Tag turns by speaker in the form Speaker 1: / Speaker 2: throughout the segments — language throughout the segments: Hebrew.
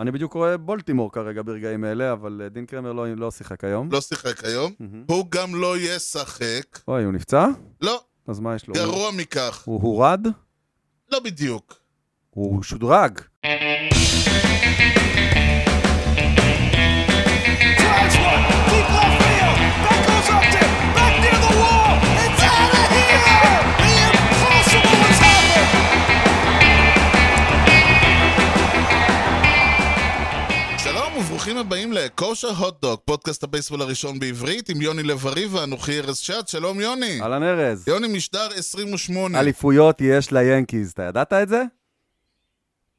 Speaker 1: אני בדיוק רואה בולטימור כרגע ברגעים אלה, אבל אה, דין קרמר לא, לא שיחק היום.
Speaker 2: לא שיחק היום.
Speaker 1: מהמם.
Speaker 2: הוא גם לא ישחק.
Speaker 1: אוי, הוא נפצע?
Speaker 2: לא,
Speaker 1: אז מה יש לו? הוא-
Speaker 2: גרוע מכך.
Speaker 1: הוא הורד?
Speaker 2: לא בדיוק.
Speaker 1: הוא שודרג.
Speaker 3: Drives one, deep left field. That goes up to, back near the wall. It's out of here. The impossible has happened.
Speaker 2: שלום וברוכים הבאים לכושר הוטדוק, פודקאסט הבייסבול הראשון בעברית עם יוני לב-ארי ואנוכי ארז שעד. שלום יוני.
Speaker 1: אהלן ארז.
Speaker 2: יוני משדר 28.
Speaker 1: אליפויות יש ליאנקיז, אתה ידעת את זה?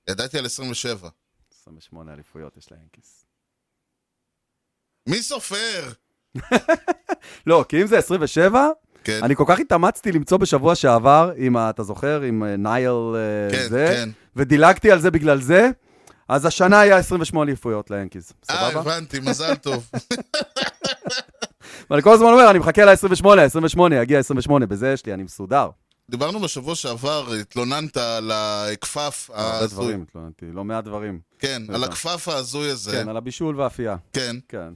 Speaker 2: ידעתי על 27.
Speaker 1: 28 אליפויות יש ליאנקיז.
Speaker 2: מי סופר?
Speaker 1: לא, כי אם זה 27,
Speaker 2: כן,
Speaker 1: אני כל כך התאמצתי למצוא בשבוע שעבר, אם ה- אתה זוכר, עם אה, נייל אה,
Speaker 2: כן,
Speaker 1: זה,
Speaker 2: כן.
Speaker 1: ודילגתי על זה בגלל זה, אז השנה היה 28 אליפויות ליאנקיז,
Speaker 2: אה,
Speaker 1: סבבה?
Speaker 2: הבנתי, מזל טוב.
Speaker 1: ואני כל הזמן אומר, אני מחכה ל-28, ה-28, יגיע ה-28, בזה יש לי, אני מסודר.
Speaker 2: דיברנו בשבוע שעבר, התלוננת על הכפף
Speaker 1: הרבה
Speaker 2: ההזוי.
Speaker 1: דברים, התלוננתי, לא מעט דברים.
Speaker 2: כן, על הכפף ההזוי הזה.
Speaker 1: כן, על הבישול והאפייה,
Speaker 2: כן.
Speaker 1: כן.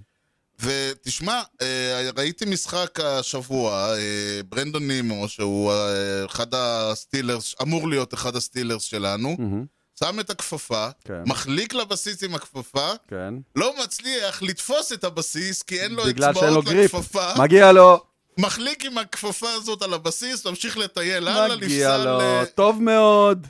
Speaker 2: ותשמע, אה, ראיתי משחק השבוע, אה, ברנדון נימו, שהוא אה, אחד הסטילרס, אמור להיות אחד הסטילרס שלנו,
Speaker 1: מהמם,
Speaker 2: שם את הכפפה,
Speaker 1: Mm. כן.
Speaker 2: מחליק לבסיס עם הכפפה,
Speaker 1: כן.
Speaker 2: לא מצליח לתפוס את הבסיס כי אין לו
Speaker 1: בגלל שאין לו
Speaker 2: אצבעות
Speaker 1: גריפ.
Speaker 2: לכפפה,
Speaker 1: מגיע לו,
Speaker 2: מחליק עם הכפפה הזאת על הבסיס, ממשיך לטייל הלאה,
Speaker 1: מגיע
Speaker 2: לפסל... אה,
Speaker 1: לו, טוב מאוד.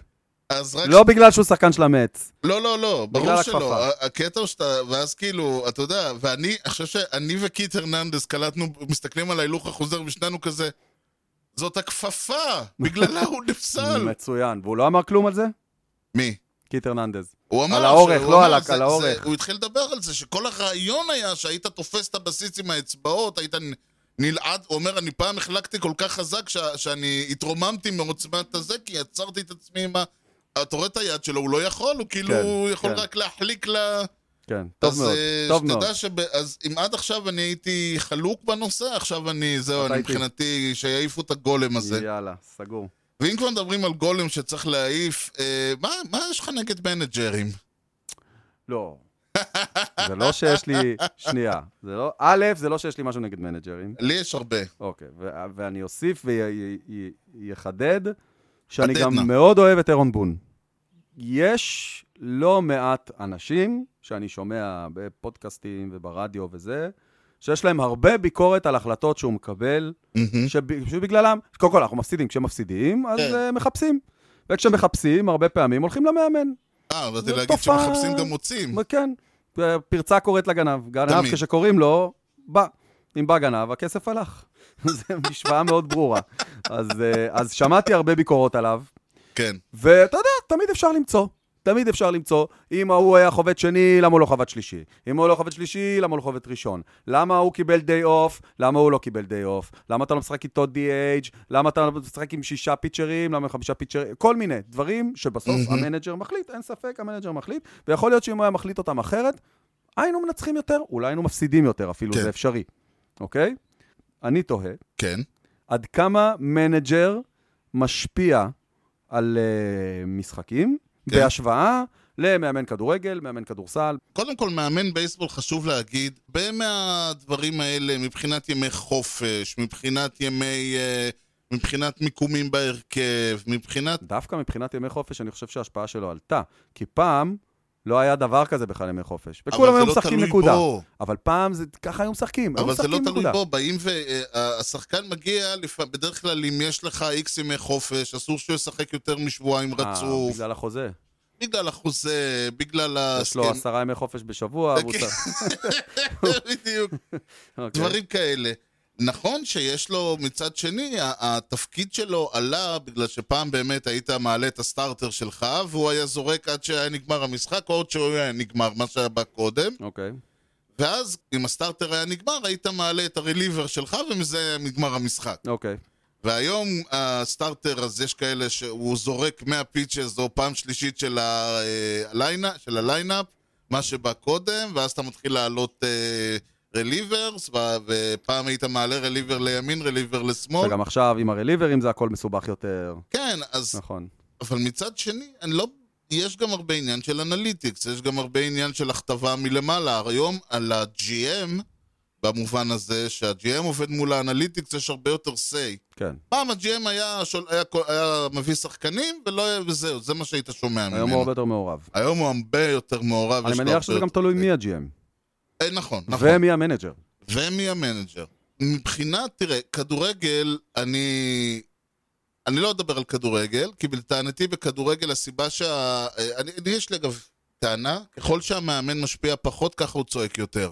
Speaker 2: אז רק...
Speaker 1: לא בגלל שהוא שחקן של המץ.
Speaker 2: לא, לא, לא,
Speaker 1: בגלל
Speaker 2: ברור שלא.
Speaker 1: הכפפה.
Speaker 2: ה- הקטע הוא שאתה, ואז כאילו, אתה יודע, ואני, אני חושב שאני וקיט הרננדס קלטנו, מסתכלים על ההילוך החוזר ושנינו כזה, זאת הכפפה, בגללה הוא נפסל.
Speaker 1: מצוין. והוא לא אמר כלום על זה?
Speaker 2: מי?
Speaker 1: קיט הרננדez.
Speaker 2: הוא אמר,
Speaker 1: על האורך,
Speaker 2: שהוא
Speaker 1: לא
Speaker 2: אמר,
Speaker 1: על ה-
Speaker 2: זה-
Speaker 1: על
Speaker 2: זה-
Speaker 1: האורך.
Speaker 2: הוא התחיל לדבר על זה, שכל הרעיון היה שהיית תופס את הבסיס עם האצבעות, היית נ- נלעד, הוא אומר, אני פעם החלקתי כל כך חזק שה- שאני התרוממתי מעוצמת הזה, כי עצרתי את עצמי עם ה... אתה רואה את היד שלו, הוא לא יכול, הוא כאילו
Speaker 1: כן,
Speaker 2: הוא יכול
Speaker 1: כן.
Speaker 2: רק להחליק ל...
Speaker 1: כן, טוב
Speaker 2: אז,
Speaker 1: מאוד,
Speaker 2: אה,
Speaker 1: טוב מאוד.
Speaker 2: שתדע שב... אז אם עד עכשיו אני הייתי חלוק בנושא, עכשיו אני, זהו,
Speaker 1: אתה
Speaker 2: אני
Speaker 1: איתי.
Speaker 2: מבחינתי, שיעיפו את הגולם הזה.
Speaker 1: יאללה, סגור.
Speaker 2: ואם כבר מדברים על גולם שצריך להעיף, אה, מה, מה יש לך נגד מנג'רים?
Speaker 1: לא. זה לא שיש לי... שנייה. זה לא... א', זה לא שיש לי משהו נגד מנג'רים.
Speaker 2: לי יש הרבה.
Speaker 1: אוקיי. ו- ואני אוסיף ויחדד שאני
Speaker 2: חדד נא.
Speaker 1: גם מאוד אוהב את אירון בון. יש לא מעט אנשים שאני שומע בפודקאסטים וברדיו וזה, שיש להם הרבה ביקורת על החלטות שהוא מקבל
Speaker 2: מהמם.
Speaker 1: שבגללם, קודם כל אנחנו מפסידים, כשמפסידים, אז
Speaker 2: Mm-hmm. כן.
Speaker 1: אה, מחפשים. וכשמחפשים, הרבה פעמים הולכים למאמן.
Speaker 2: אה, באתי
Speaker 1: זו
Speaker 2: להגיד
Speaker 1: תופעה-
Speaker 2: שמחפשים גם מוצאים.
Speaker 1: כן, פרצה קוראת לגנב. גנב,
Speaker 2: תמיד.
Speaker 1: כשקוראים לו, בא. אם בא גנב, הכסף הלך. זו משוואה מאוד ברורה. אז, אה, אז שמעתי הרבה ביקורות עליו,
Speaker 2: כן.
Speaker 1: ואתה יודע, תמיד אפשר למצוא. תמיד אפשר למצוא, אם ההוא היה חובד שני, למה הוא לא חובד שלישי? אם הוא לא חובד שלישי, למה הוא לא חובד ראשון? למה הוא קיבל די אוף, למה הוא לא קיבל די אוף? למה אתה לא משחק איתו DH? למה אתה לא משחק עם שישה פיצ'רים? למה עם חמישה פיצ'רים? כל מיני דברים שבסוף
Speaker 2: מהמם.
Speaker 1: המנג'ר מחליט, אין ספק, המנג'ר מחליט, ויכול להיות שאם הוא היה מחליט אותם אחרת, היינו מנצחים יותר, אולי היינו מפסידים יותר, אפילו
Speaker 2: כן.
Speaker 1: זה אפשרי, אוקיי? אני תוהה,
Speaker 2: כן.
Speaker 1: עד כמה מנג'ר משפיע על uh, משחקים,
Speaker 2: כן.
Speaker 1: כן. בהשוואה למאמן כדורגל, מאמן כדורסל.
Speaker 2: קודם כל, מאמן בייסבול חשוב להגיד, הרבה מהדברים האלה, מבחינת ימי חופש, מבחינת ימי... אה, מבחינת מיקומים בהרכב, מבחינת...
Speaker 1: דווקא מבחינת ימי חופש, אני חושב שההשפעה שלו עלתה, כי פעם לא היה דבר כזה בכלל ימי חופש. וכולם
Speaker 2: אבל
Speaker 1: היו
Speaker 2: זה לא
Speaker 1: משחקים
Speaker 2: תלוי
Speaker 1: נקודה.
Speaker 2: בו.
Speaker 1: אבל פעם זה ככה היו משחקים, היו
Speaker 2: אבל זה
Speaker 1: משחקים
Speaker 2: לא תלוי
Speaker 1: נקודה.
Speaker 2: בו, באים והשחקן מגיע, לפ- בדרך כלל אם יש לך איקס ימי חופש, אסור שהוא ישחק יותר משבועיים
Speaker 1: אה,
Speaker 2: רצוף,
Speaker 1: בגלל החוזה.
Speaker 2: בגלל החוזה, בגלל ה...
Speaker 1: יש לו עשרה ימי חופש בשבוע, והוא צריך...
Speaker 2: בדיוק,
Speaker 1: אוקיי.
Speaker 2: כאילו דברים כאלה. נכון שיש לו מצד שני, ה- התפקיד שלו עלה בגלל שפעם באמת היית מעלה את הסטארטר שלך והוא היה זורק עד שהיה נגמר המשחק או עד שהוא היה נגמר, מה שהיה בא קודם
Speaker 1: אוקיי.
Speaker 2: ואז אם הסטארטר היה נגמר היית מעלה את הרליבר שלך ומזה היה נגמר המשחק
Speaker 1: אוקיי.
Speaker 2: והיום הסטארטר, אז יש כאלה שהוא זורק 100 פיצ'ס או פעם שלישית של הליינאפ, של הליינאפ, מה שבא קודם, ואז אתה מתחיל לעלות אה, רליברס, ו- ופעם היית מעלה רליבר לימין, רליבר לשמאל.
Speaker 1: וגם עכשיו עם הרליברים זה הכל מסובך יותר.
Speaker 2: כן, אז...
Speaker 1: נכון.
Speaker 2: אבל מצד שני, אני לא... יש גם הרבה עניין של אנליטיקס, יש גם הרבה עניין של הכתבה מלמעלה. היום על ה-GM, במובן הזה שה-GM עובד מול האנליטיקס, יש הרבה יותר say.
Speaker 1: כן.
Speaker 2: פעם ה-GM היה, שול, היה, כל- היה מביא שחקנים, ולא היה, וזהו, זה מה שהיית שומע
Speaker 1: היום הוא
Speaker 2: ממנו.
Speaker 1: הרבה יותר מעורב.
Speaker 2: היום הוא הרבה יותר מעורב. יש
Speaker 1: אני
Speaker 2: לו
Speaker 1: מניח
Speaker 2: הרבה
Speaker 1: שזה גם
Speaker 2: יותר
Speaker 1: תלוי
Speaker 2: say.
Speaker 1: מי ה-GM.
Speaker 2: אה, נכון, נכון.
Speaker 1: ומי המנג'ר.
Speaker 2: ומי המנג'ר. מבחינת, תראה, כדורגל, אני... אני לא אדבר על כדורגל, כי לטענתי בכדורגל הסיבה שה... אה, אני, אני יש לי אגב טענה, ככל שהמאמן משפיע פחות, ככה הוא צועק יותר.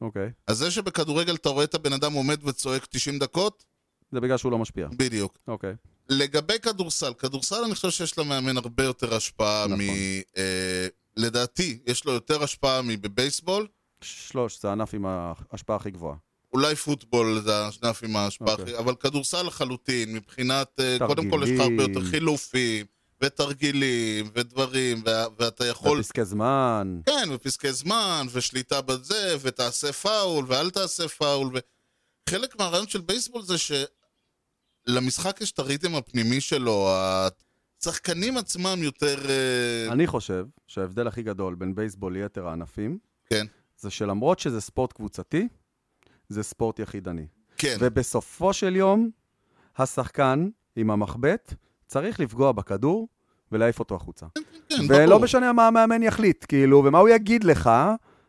Speaker 1: אוקיי.
Speaker 2: אז זה שבכדורגל אתה רואה את הבן אדם עומד וצועק 90 דקות,
Speaker 1: זה בגלל שהוא לא משפיע.
Speaker 2: בדיוק.
Speaker 1: אוקיי.
Speaker 2: לגבי כדורסל, כדורסל אני חושב שיש למאמן הרבה יותר השפעה
Speaker 1: נכון.
Speaker 2: מ... אה, לדעתי, יש לו יותר השפעה מבבייסבול,
Speaker 1: שלוש, זה הענף עם ההשפעה הכי גבוהה.
Speaker 2: אולי פוטבול זה השנף עם ההשפעה,
Speaker 1: אוקיי.
Speaker 2: okay. אבל כדורסל לחלוטין, מבחינת, אה,
Speaker 1: תרגילים.
Speaker 2: קודם כל יש לך הרבה יותר חילופים, ותרגילים, ודברים, וה, ואתה יכול,
Speaker 1: פסקי זמן.
Speaker 2: כן, ופסקי זמן, ושליטה בזה, ותעשה פאול, ואל תעשה פאול, ו... חלק מהרעיון של בייסבול זה שלמשחק יש את הריתם הפנימי שלו, השחקנים עצמם יותר... אה,
Speaker 1: אני חושב שההבדל הכי גדול בין בייסבול ליתר הענפים,
Speaker 2: כן.
Speaker 1: זה שלמרות שזה ספורט קבוצתי, זה ספורט יחידני.
Speaker 2: כן,
Speaker 1: ובסופו של יום, השחקן עם המחבט צריך לפגוע בכדור ולהעיף אותו החוצה.
Speaker 2: כן,
Speaker 1: ולא
Speaker 2: ברור.
Speaker 1: משנה מה המאמן יחליט, כאילו, ומה הוא יגיד לך,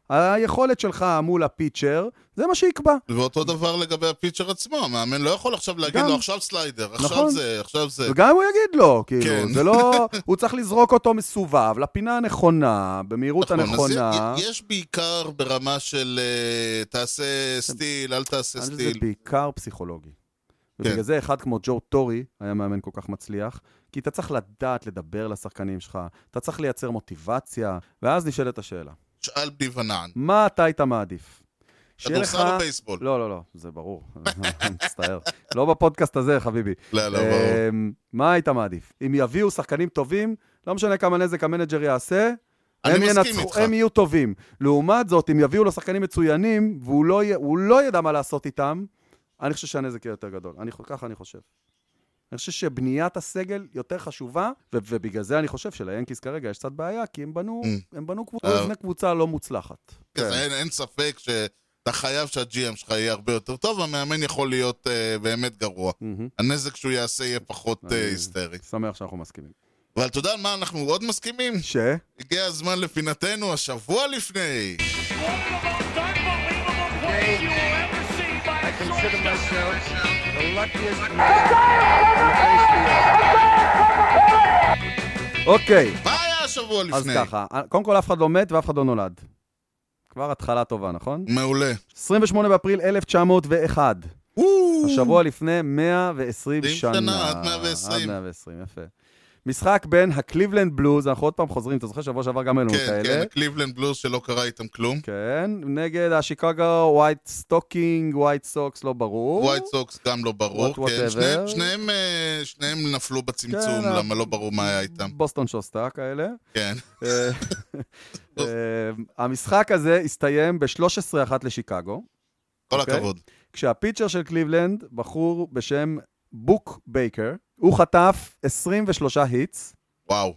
Speaker 1: היכולת שלך מול הפיצ'ר, זה מה שיקבע.
Speaker 2: ואותו דבר לגבי הפיצ'ר עצמו, המאמן לא יכול עכשיו להגיד
Speaker 1: גם.
Speaker 2: לו עכשיו סליידר, עכשיו
Speaker 1: נכון.
Speaker 2: זה, עכשיו זה.
Speaker 1: וגם אם הוא יגיד לו, כאילו,
Speaker 2: כן.
Speaker 1: זה לא... הוא צריך לזרוק אותו מסובב, לפינה הנכונה, במהירות
Speaker 2: נכון, אז
Speaker 1: הנכונה.
Speaker 2: י- יש בעיקר ברמה של אה, תעשה סטיל, אל תעשה
Speaker 1: אני חושב שזה
Speaker 2: סטיל.
Speaker 1: בעיקר פסיכולוגי. ובגלל
Speaker 2: כן.
Speaker 1: זה אחד כמו ג'ו טורי היה מאמן כל כך מצליח, כי אתה צריך לדעת לדבר לשחקנים שלך, אתה צריך לייצר מוטיבציה, ואז נשאלת השאלה,
Speaker 2: שאל בני ונען.
Speaker 1: מה אתה היית מעדיף? שיהיה
Speaker 2: כדורסל או בייסבול?
Speaker 1: לא, לא, לא, זה ברור, מצטער. לא בפודקאסט הזה, חביבי.
Speaker 2: לא, לא, ברור.
Speaker 1: אמ, מה היית מעדיף? אם יביאו שחקנים טובים, לא משנה כמה נזק המנג'ר יעשה,
Speaker 2: אני
Speaker 1: הם
Speaker 2: מסכים
Speaker 1: ינצחו,
Speaker 2: איתך.
Speaker 1: הם יהיו טובים. לעומת זאת, אם יביאו לו שחקנים מצוינים, והוא לא, י... הוא לא ידע מה לעשות איתם, אני חושב שהנזק יהיה יותר גדול. אני, ככה אני חושב. אני חושב שבניית הסגל יותר חשובה, ו- ובגלל זה אני חושב שליאנקיס כרגע יש קצת בעיה, כי הם בנו,
Speaker 2: Mm.
Speaker 1: הם בנו
Speaker 2: אה. כן.
Speaker 1: קבוצה, לפני קבוצה לא מוצלחת. כן.
Speaker 2: אז אין- אין ספק שאתה חייב שה-GM שלך יהיה הרבה יותר טוב, המאמן יכול להיות אה, באמת גרוע.
Speaker 1: מהמם.
Speaker 2: הנזק שהוא יעשה יהיה פחות
Speaker 1: אני-
Speaker 2: אה, היסטרי.
Speaker 1: שמח שאנחנו מסכימים.
Speaker 2: אבל אתה יודע על מה אנחנו עוד מסכימים?
Speaker 1: ש?
Speaker 2: הגיע הזמן לפינתנו השבוע לפני.
Speaker 3: One of the most unbelievable plays you will ever see by a
Speaker 4: consider
Speaker 3: shortstop.
Speaker 4: myself the luckiest man.
Speaker 1: אוקיי,
Speaker 2: מה היה השבוע
Speaker 1: אז
Speaker 2: לפני?
Speaker 1: ככה. קודם כל, אף אחד לא מת ואף אחד לא נולד. כבר התחלה טובה, נכון?
Speaker 2: מעולה.
Speaker 1: 28 באפריל 1901. השבוע לפני 120
Speaker 2: 20
Speaker 1: שנה.
Speaker 2: שנה, עד 120.
Speaker 1: עד 120, יפה. משחק בין הקליבלנד בלוז, אנחנו עוד פעם חוזרים, אתה זוכר שבוע שעבר גם היו לנו
Speaker 2: כן, כן,
Speaker 1: כאלה?
Speaker 2: הקליבלנד בלוז שלא קרה איתם כלום.
Speaker 1: כן, נגד השיקגו, ווייט סטוקינג, ווייט סוקס, לא ברור.
Speaker 2: ווייט סוקס גם לא
Speaker 1: What-
Speaker 2: ברור, כן.
Speaker 1: whatever.
Speaker 2: שניהם, שניהם, אה, שניהם נפלו בצמצום,
Speaker 1: כן,
Speaker 2: למה לא ברור מה היה איתם.
Speaker 1: בוסטון שוסטה כאלה.
Speaker 2: כן.
Speaker 1: אה, אה, המשחק הזה הסתיים ב-13-1 לשיקגו,
Speaker 2: כל
Speaker 1: אוקיי.
Speaker 2: הכבוד.
Speaker 1: כשהפיצ'ר של קליבלנד, בחור בשם בוק בייקר, הוא חטף 23 היטס,
Speaker 2: וואו.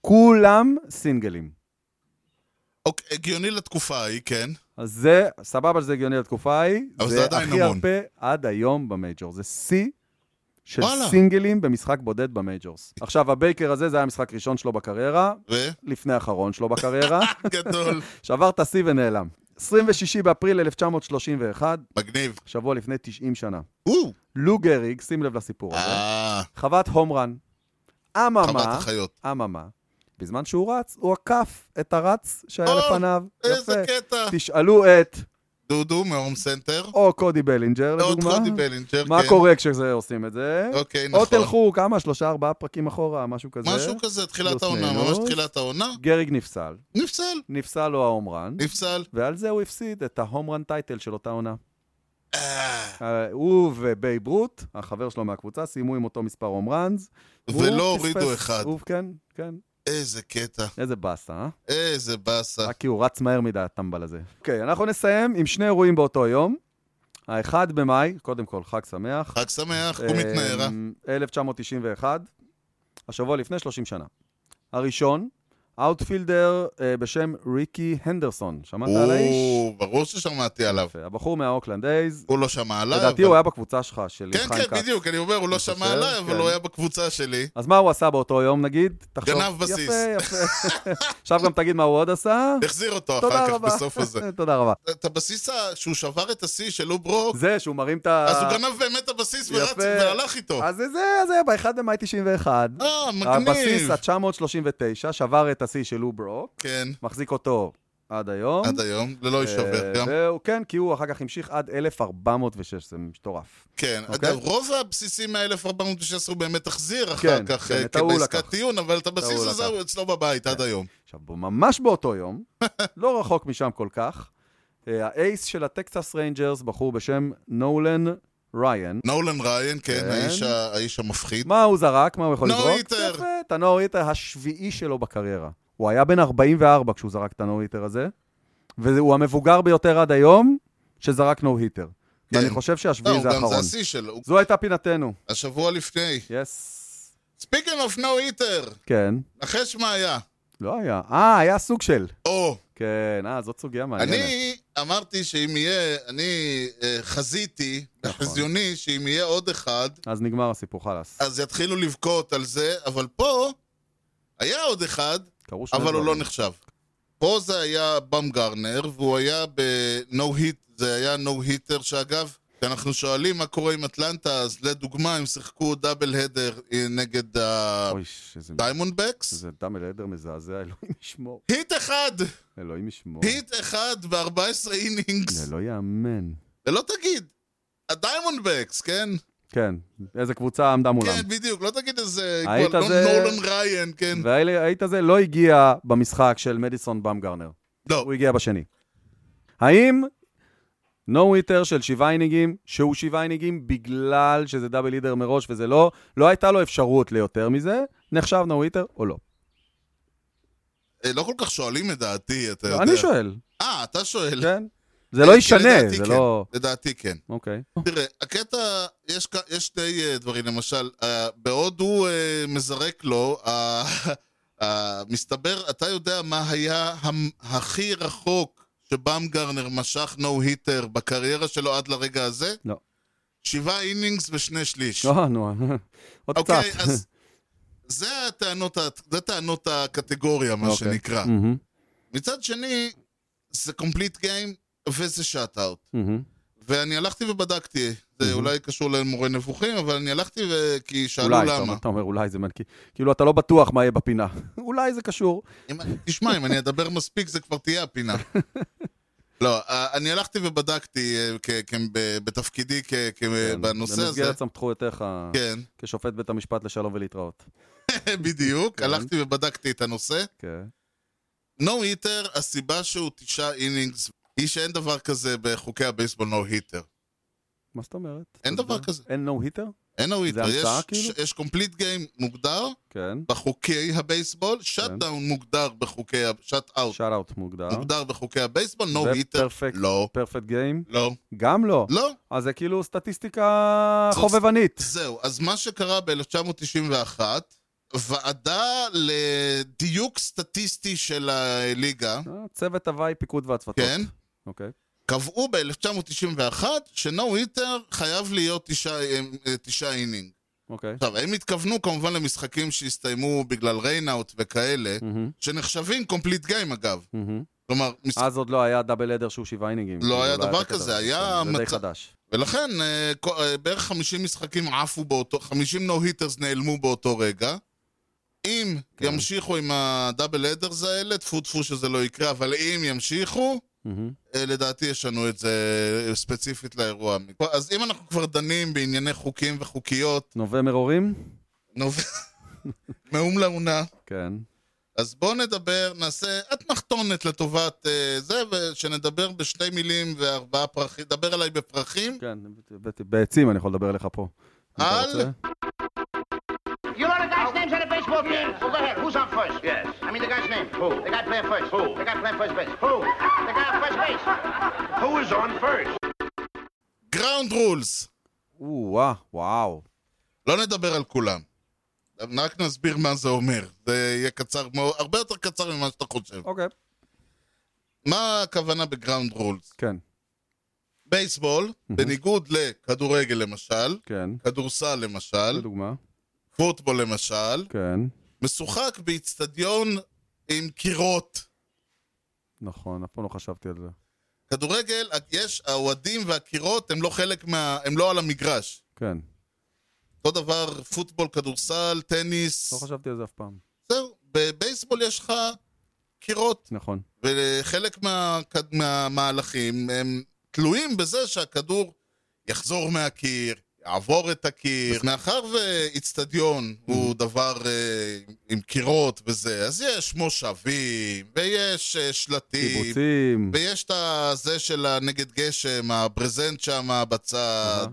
Speaker 1: כולם סינגלים.
Speaker 2: אוקיי, הגיוני לתקופה ההיא, כן.
Speaker 1: אז זה, סבבה שזה הגיוני לתקופה ההיא.
Speaker 2: אבל זה עדיין
Speaker 1: הכי
Speaker 2: המון.
Speaker 1: הרבה עד היום במייג'ור. זה שיא של
Speaker 2: וואלה.
Speaker 1: סינגלים במשחק בודד במייג'ורס. עכשיו, הבייקר הזה, זה היה המשחק ראשון שלו בקריירה,
Speaker 2: ו?
Speaker 1: לפני האחרון שלו בקריירה,
Speaker 2: גדול.
Speaker 1: שבר את השיא ונעלם. 26 באפריל 1931,
Speaker 2: מגניב.
Speaker 1: שבוע לפני 90 שנה.
Speaker 2: וואו.
Speaker 1: לו גריג, שים לב לסיפור הזה,
Speaker 2: אה,
Speaker 1: חוות הום רן.
Speaker 2: חוות
Speaker 1: אממה,
Speaker 2: החיות.
Speaker 1: אממה, בזמן שהוא רץ, הוא עקף את הרץ שהיה
Speaker 2: או,
Speaker 1: לפניו.
Speaker 2: איזה
Speaker 1: יפה.
Speaker 2: קטע.
Speaker 1: תשאלו את
Speaker 2: דודו מהום סנטר. לא
Speaker 1: או קודי בלינג'ר,
Speaker 2: עוד
Speaker 1: אה, לדוגמה.
Speaker 2: קודי בלינג'ר, כן.
Speaker 1: מה קורה כשעושים את זה?
Speaker 2: אוקיי,
Speaker 1: או
Speaker 2: נכון.
Speaker 1: תלכו כמה, שלושה, ארבעה פרקים אחורה, משהו כזה.
Speaker 2: משהו כזה, תחילת
Speaker 1: פלוס
Speaker 2: העונה, ממש
Speaker 1: מינוס.
Speaker 2: תחילת העונה.
Speaker 1: גריג נפסל.
Speaker 2: נפסל.
Speaker 1: נפסל לו ההומרן,
Speaker 2: נפסל.
Speaker 1: ועל זה הוא הפסיד את ההומרן טייטל של אותה עונה.
Speaker 2: אה,
Speaker 1: אה, הוא ובייב רוט, החבר שלו מהקבוצה, סיימו עם אותו מספר הומרנס. והוא
Speaker 2: ולא
Speaker 1: פספס-
Speaker 2: הורידו אחד.
Speaker 1: הוא- כן, כן.
Speaker 2: איזה קטע.
Speaker 1: איזה באסה, אה?
Speaker 2: איזה באסה.
Speaker 1: רק כי הוא רץ מהר מדי, הטמבל הזה. אוקיי, אנחנו נסיים עם שני אירועים באותו יום. האחד במאי, קודם כל, חג שמח.
Speaker 2: חג שמח, קום
Speaker 1: אה,
Speaker 2: מתנערה.
Speaker 1: 1991, השבוע לפני 30 שנה. הראשון, אאוטפילדר אה, בשם ריקי הנדרסון. שמעת על האיש?
Speaker 2: הוא, ברור ששמעתי עליו.
Speaker 1: יפה, הבחור מהאוקלנד אייז.
Speaker 2: הוא לא שמע עליי.
Speaker 1: לדעתי
Speaker 2: אבל-
Speaker 1: הוא היה בקבוצה שלך, של
Speaker 2: כן,
Speaker 1: חיים
Speaker 2: כן,
Speaker 1: כץ.
Speaker 2: בדיוק, אני אומר, הוא לא
Speaker 1: אני
Speaker 2: שמע
Speaker 1: חושב,
Speaker 2: עליי, אבל
Speaker 1: כן.
Speaker 2: הוא היה בקבוצה שלי.
Speaker 1: אז מה הוא עשה באותו יום, נגיד? תחשוב.
Speaker 2: גנב בסיס.
Speaker 1: יפה, יפה. עכשיו גם תגיד מה הוא עוד עשה.
Speaker 2: החזיר אותו
Speaker 1: תודה
Speaker 2: אחר כך
Speaker 1: רבה.
Speaker 2: בסוף הזה.
Speaker 1: תודה רבה.
Speaker 2: את הבסיס ה- שהוא שבר את השיא של לוב רוק,
Speaker 1: זה שהוא מרים את ה...
Speaker 2: אז הוא גנב באמת את הבסיס ורץ
Speaker 1: יפה. אה,
Speaker 2: והלך איתו.
Speaker 1: אז זה- זה אז זה היה ב-1 במאי 91.
Speaker 2: אה,
Speaker 1: הבסיס
Speaker 2: מגניב.
Speaker 1: ה-939 שבר את השיא של לוב ברוק,
Speaker 2: כן,
Speaker 1: מחזיק אותו עד היום.
Speaker 2: עד היום, ללא
Speaker 1: אה,
Speaker 2: יישבר גם.
Speaker 1: והוא- כן, כי הוא אחר כך המשיך עד 1406, זה מטורף.
Speaker 2: כן,
Speaker 1: אוקיי.
Speaker 2: אגב, רוב הבסיסים מה-1416 הוא באמת החזיר אחר
Speaker 1: כן,
Speaker 2: כך,
Speaker 1: כן,
Speaker 2: אה,
Speaker 1: את ההוא
Speaker 2: כבעסקת
Speaker 1: לקח.
Speaker 2: טיעון, אבל את הבסיס
Speaker 1: ההוא
Speaker 2: הזה
Speaker 1: לקח. כן.
Speaker 2: הוא אצלו בבית עד היום.
Speaker 1: עכשיו, בו- ממש באותו יום, לא רחוק משם כל כך, אה, האייס של הטקסס ריינג'רס, בחור בשם נולן ריין,
Speaker 2: נולן ריין, כן,
Speaker 1: כן.
Speaker 2: האיש ה- האיש המפחיד.
Speaker 1: מה הוא זרק? מה הוא יכול
Speaker 2: No
Speaker 1: לזרוק?
Speaker 2: hitter.
Speaker 1: יפה, את הנור היטר השביעי שלו בקריירה. הוא היה בן 44 כשהוא זרק את הנור היטר הזה, והוא המבוגר ביותר עד היום שזרק נו היטר.
Speaker 2: כן.
Speaker 1: ואני חושב
Speaker 2: לא,
Speaker 1: שהשביעי
Speaker 2: הוא
Speaker 1: זה
Speaker 2: גם זה
Speaker 1: האחרון.
Speaker 2: השיא שלו, הוא-
Speaker 1: זו הייתה פינתנו.
Speaker 2: השבוע לפני.
Speaker 1: יס.
Speaker 2: Speaking of no eater,
Speaker 1: כן.
Speaker 2: נחש מה היה.
Speaker 1: לא היה. אה, היה סוג של.
Speaker 2: או,
Speaker 1: כן, אה, זאת סוגיה מעניינת.
Speaker 2: אני אמרתי שאם יהיה, אני אה, חזיתי
Speaker 1: נכון.
Speaker 2: בחזיוני שאם יהיה עוד אחד,
Speaker 1: אז נגמר הסיפור, חלאס.
Speaker 2: אז יתחילו לבכות על זה, אבל פה היה עוד אחד,
Speaker 1: קרו שני
Speaker 2: אבל הוא לא
Speaker 1: דברים.
Speaker 2: נחשב. פה זה היה בם גרנר, והוא היה בנו היט, זה היה נו היטר, שאגב, כשאנחנו שואלים מה קורה עם אטלנטה, אז לדוגמה, הם שיחקו דאבל הדר אה, נגד
Speaker 1: אוי, ש- איזה-
Speaker 2: הדיימונד בקס.
Speaker 1: איזה דאמל עדר מזעזע, אלוהים ישמור.
Speaker 2: היט אחד!
Speaker 1: אלוהים ישמור.
Speaker 2: היט אחד ב-14 אינינגס.
Speaker 1: זה לא יאמן.
Speaker 2: ולא תגיד, הדיימונד בקס, כן?
Speaker 1: כן, איזה קבוצה עמדה מולם.
Speaker 2: כן, בדיוק, לא תגיד איזה...
Speaker 1: היית
Speaker 2: כבר- לא
Speaker 1: זה-
Speaker 2: נולן ריין, כן?
Speaker 1: והאיט הזה לא הגיע במשחק של מדיסון במגרנר,
Speaker 2: לא,
Speaker 1: הוא הגיע בשני. האם נו היטר של שבעה אינינגים, שהוא שבעה אינינגים בגלל שזה דאבל לידר מראש וזה לא, לא הייתה לו אפשרות ליותר מזה, נחשב נו היטר או לא?
Speaker 2: אה, לא כל כך שואלים את דעתי, אתה יודע.
Speaker 1: לא, אני שואל,
Speaker 2: אה, אתה שואל.
Speaker 1: כן? זה לא
Speaker 2: כן,
Speaker 1: ישנה,
Speaker 2: לדעתי
Speaker 1: זה
Speaker 2: כן.
Speaker 1: לא...
Speaker 2: לדעתי כן.
Speaker 1: אוקיי.
Speaker 2: תראה, הקטע, יש, כ- יש שני אה, דברים, למשל, אה, בעוד הוא אה, מזרק לו, אה, אה, מסתבר, אתה יודע מה היה המ- הכי רחוק שבאם גרנר משך נו היטר בקריירה שלו עד לרגע הזה?
Speaker 1: לא.
Speaker 2: שבעה אינינגס ושני שליש.
Speaker 1: אה, נו, עוד קצת.
Speaker 2: אוקיי, אז זה הטענות, ה- זה טענות הקטגוריה, מה
Speaker 1: אוקיי.
Speaker 2: שנקרא.
Speaker 1: מהמם,
Speaker 2: מצד שני, זה קומפליט גיים וזה שאט-אאוט.
Speaker 1: מהמם.
Speaker 2: ואני הלכתי ובדקתי, זה
Speaker 1: מהמם.
Speaker 2: אולי קשור למורה נבוכים, אבל אני הלכתי ו... כי שאלו
Speaker 1: אולי, אתה אומר-
Speaker 2: למה.
Speaker 1: אתה אומר אולי זה... מעניין, כי- כאילו, אתה לא בטוח מה יהיה בפינה. אולי זה קשור.
Speaker 2: אם- תשמע, אם אני אדבר מספיק, זה כבר תהיה הפינה. לא, אה, אני הלכתי ובדקתי אה, כ- כ- ב- בתפקידי כ- כ-
Speaker 1: כן,
Speaker 2: אה, בנושא הזה.
Speaker 1: במסגרת סמכויותיך
Speaker 2: כן,
Speaker 1: כשופט בית המשפט לשלום ולהתראות.
Speaker 2: בדיוק.
Speaker 1: כן.
Speaker 2: הלכתי ובדקתי את הנושא.
Speaker 1: כן.
Speaker 2: נו היטר, הסיבה שהוא תשעה אינינגס, היא שאין דבר כזה בחוקי הבייסבול נו היטר.
Speaker 1: מה זאת אומרת?
Speaker 2: אין דבר כזה.
Speaker 1: אין נו היטר?
Speaker 2: אין נו היטר.
Speaker 1: המצאה, כאילו?
Speaker 2: יש קומפליט גיים מוגדר,
Speaker 1: כן.
Speaker 2: בחוקי הבייסבול, שאט דאון מוגדר בחוקי, שאט אאוט
Speaker 1: שאט אאוט מוגדר.
Speaker 2: לא. מוגדר בחוקי הבייסבול, נו היטר,
Speaker 1: ופרפקט,
Speaker 2: לא,
Speaker 1: פרפקט גיים?
Speaker 2: לא,
Speaker 1: גם לא.
Speaker 2: לא.
Speaker 1: אז זה כאילו סטטיסטיקה
Speaker 2: זאת-
Speaker 1: חובבנית.
Speaker 2: זהו, אז מה שקרה ב-1991, ועדה לדיוק סטטיסטי של הליגה,
Speaker 1: אה, צוות הוואי, פיקוד והצוותות.
Speaker 2: כן,
Speaker 1: אוקיי.
Speaker 2: קבעו ב-1991 שנו היטר חייב להיות תשעה אה, תשעה אינינג.
Speaker 1: אוקיי.
Speaker 2: עכשיו, הם התכוונו כמובן למשחקים שהסתיימו בגלל ריינאוט וכאלה,
Speaker 1: מהמם,
Speaker 2: שנחשבים קומפליט גיים אגב.
Speaker 1: מהמם.
Speaker 2: כלומר, משחק...
Speaker 1: אז עוד לא היה דאבל עדר שהוא שבעה אינינגים.
Speaker 2: לא
Speaker 1: כאילו,
Speaker 2: היה דבר
Speaker 1: את הכתבה.
Speaker 2: כזה, היה
Speaker 1: זה די
Speaker 2: מצב-
Speaker 1: חדש.
Speaker 2: ולכן אה, כל- אה, בערך 50 משחקים עפו באותו, 50 נו-היטרס נעלמו באותו רגע. אם
Speaker 1: כן.
Speaker 2: ימשיכו עם הדאבל אדרס האלה, טפו טפו שזה לא יקרה, אבל אם ימשיכו,
Speaker 1: מהמם.
Speaker 2: אה, לדעתי ישנו את זה אה, ספציפית לאירוע. אז אם אנחנו כבר דנים בענייני חוקים וחוקיות,
Speaker 1: נובע מרורים?
Speaker 2: נובע מאום לאונה,
Speaker 1: כן.
Speaker 2: אז בואו נדבר, נעשה אתנחתונת לטובת אה, זה, ושנדבר בשתי מילים וארבעה פרחים, דבר אליי בפרחים,
Speaker 1: כן, הבאתי- בעצים אני יכול לדבר לך פה. אם אתה
Speaker 2: על?
Speaker 1: רוצה.
Speaker 5: You know the guy's names on the baseball team? Well, go ahead. Who's on first? Yes. I mean the guy's name. Who? The guy playing first. Who? The guy playing first base. Who? The guy on first base.
Speaker 4: Who is on first?
Speaker 2: גראונד רולס.
Speaker 1: או, וואו, וואו.
Speaker 2: לא נדבר על כולם. רק נסביר מה זה אומר. זה יהיה קצר מאוד, הרבה יותר קצר ממה שאתה חושב.
Speaker 1: אוקיי.
Speaker 2: מה הכוונה בגראונד רולס?
Speaker 1: כן,
Speaker 2: בייסבול, בניגוד לכדורגל למשל,
Speaker 1: כן.
Speaker 2: כדורסל למשל,
Speaker 1: לדוגמה.
Speaker 2: פוטבול למשל,
Speaker 1: כן,
Speaker 2: משוחק באיצטדיון עם קירות.
Speaker 1: נכון, אף פעם לא חשבתי על זה.
Speaker 2: כדורגל, יש, האוהדים והקירות הם לא חלק מה... הם לא על המגרש.
Speaker 1: כן,
Speaker 2: אותו דבר פוטבול, כדורסל, טניס.
Speaker 1: לא חשבתי על זה אף פעם.
Speaker 2: זהו, בבייסבול יש לך קירות,
Speaker 1: נכון.
Speaker 2: וחלק מה, מהמהלכים הם תלויים בזה שהכדור יחזור מהקיר, יעבור את הקיר. מאחר ואיצטדיון הוא
Speaker 1: Mm-hmm.
Speaker 2: דבר אה, עם קירות וזה, אז יש מושבים, ויש אה, שלטים,
Speaker 1: קיבוצים.
Speaker 2: ויש את הזה של הנגד גשם, הברזנט שם בצד.
Speaker 1: אהה.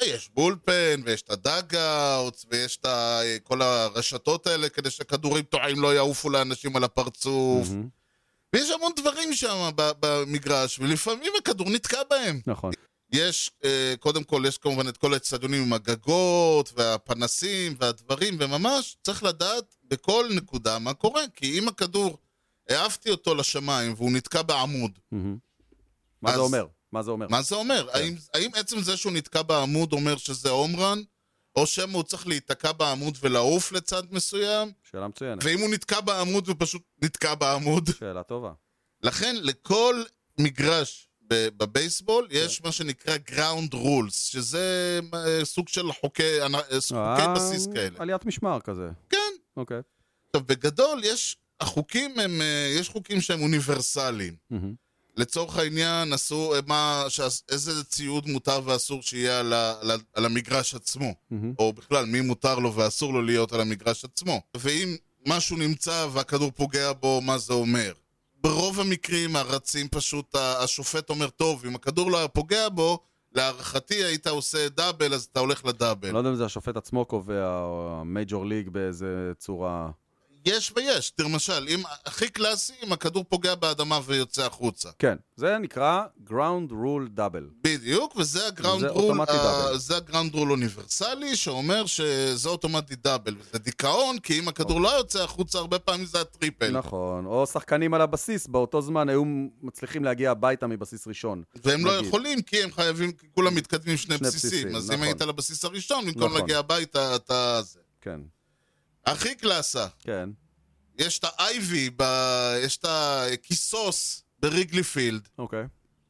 Speaker 2: ויש בולפן, ויש את הדאגאוטס, ויש את ה- אה, כל הרשתות האלה כדי שכדורים טועים לא יעופו לאנשים על הפרצוף.
Speaker 1: מהמם,
Speaker 2: ויש המון דברים שם ב- במגרש, ולפעמים הכדור נתקע בהם.
Speaker 1: נכון.
Speaker 2: יש, אה, קודם כל, יש כמובן את כל האצטדיונים עם הגגות, והפנסים, והדברים, וממש צריך לדעת בכל נקודה מה קורה. כי אם הכדור, העפתי אותו לשמיים והוא נתקע בעמוד,
Speaker 1: מהמם. מה זה
Speaker 2: אז-
Speaker 1: אומר? מה זה אומר?
Speaker 2: מה זה אומר? האם, האם עצם זה שהוא נתקע בעמוד אומר שזה הומרן? או שמא הוא צריך להיתקע בעמוד ולעוף לצד מסוים?
Speaker 1: שאלה מצוינת.
Speaker 2: ואם הוא נתקע בעמוד, הוא פשוט נתקע בעמוד.
Speaker 1: שאלה טובה.
Speaker 2: לכן, לכל מגרש ב- בבייסבול יש מה שנקרא גראונד רולס, שזה אה, סוג של חוקי, אנ- אה, חוקי
Speaker 1: אה,
Speaker 2: בסיס כאלה.
Speaker 1: עליית משמר כזה.
Speaker 2: כן.
Speaker 1: אוקיי.
Speaker 2: עכשיו, בגדול, יש, החוקים הם, אה, יש חוקים שהם אוניברסליים.
Speaker 1: מהמם,
Speaker 2: לצורך העניין, עשו, אה, מה, שעש, איזה ציוד מותר ואסור שיהיה על, ה, על, ה- על המגרש עצמו,
Speaker 1: מהמם.
Speaker 2: או בכלל, מי מותר לו ואסור לו להיות על המגרש עצמו. ואם משהו נמצא והכדור פוגע בו, מה זה אומר? ברוב המקרים הרצים פשוט, ה- השופט אומר, טוב, אם הכדור לא היה פוגע בו, להערכתי היית עושה דאבל, אז אתה הולך לדאבל.
Speaker 1: אני לא יודע אם זה השופט עצמו קובע, או המייג'ור ליג באיזה צורה...
Speaker 2: יש ויש, תראה, למשל, אם, הכי קלאסי, אם הכדור פוגע באדמה ויוצא החוצה.
Speaker 1: כן, זה נקרא ground rule double.
Speaker 2: בדיוק, וזה הגראונד
Speaker 1: זה
Speaker 2: רול,
Speaker 1: אוטומטי דאבל.
Speaker 2: ה- זה הגראונד רול אוניברסלי, שאומר שזה אוטומטי דאבל. זה דיכאון, כי אם הכדור לא יוצא החוצה, הרבה פעמים זה הטריפל.
Speaker 1: נכון, או שחקנים על הבסיס באותו זמן היו מצליחים להגיע הביתה מבסיס ראשון.
Speaker 2: והם לא
Speaker 1: נגיד.
Speaker 2: יכולים, כי הם חייבים, כי כולם מתקדמים שני
Speaker 1: שני בסיסים,
Speaker 2: בסיסים. אז אם
Speaker 1: נכון.
Speaker 2: היית לבסיס הראשון, במקום
Speaker 1: נכון.
Speaker 2: להגיע הביתה, אתה... זה.
Speaker 1: כן,
Speaker 2: הכי קלאסה,
Speaker 1: כן,
Speaker 2: יש את האייבי, ב- יש את הכיסוס בריגלי פילד.
Speaker 1: אוקיי.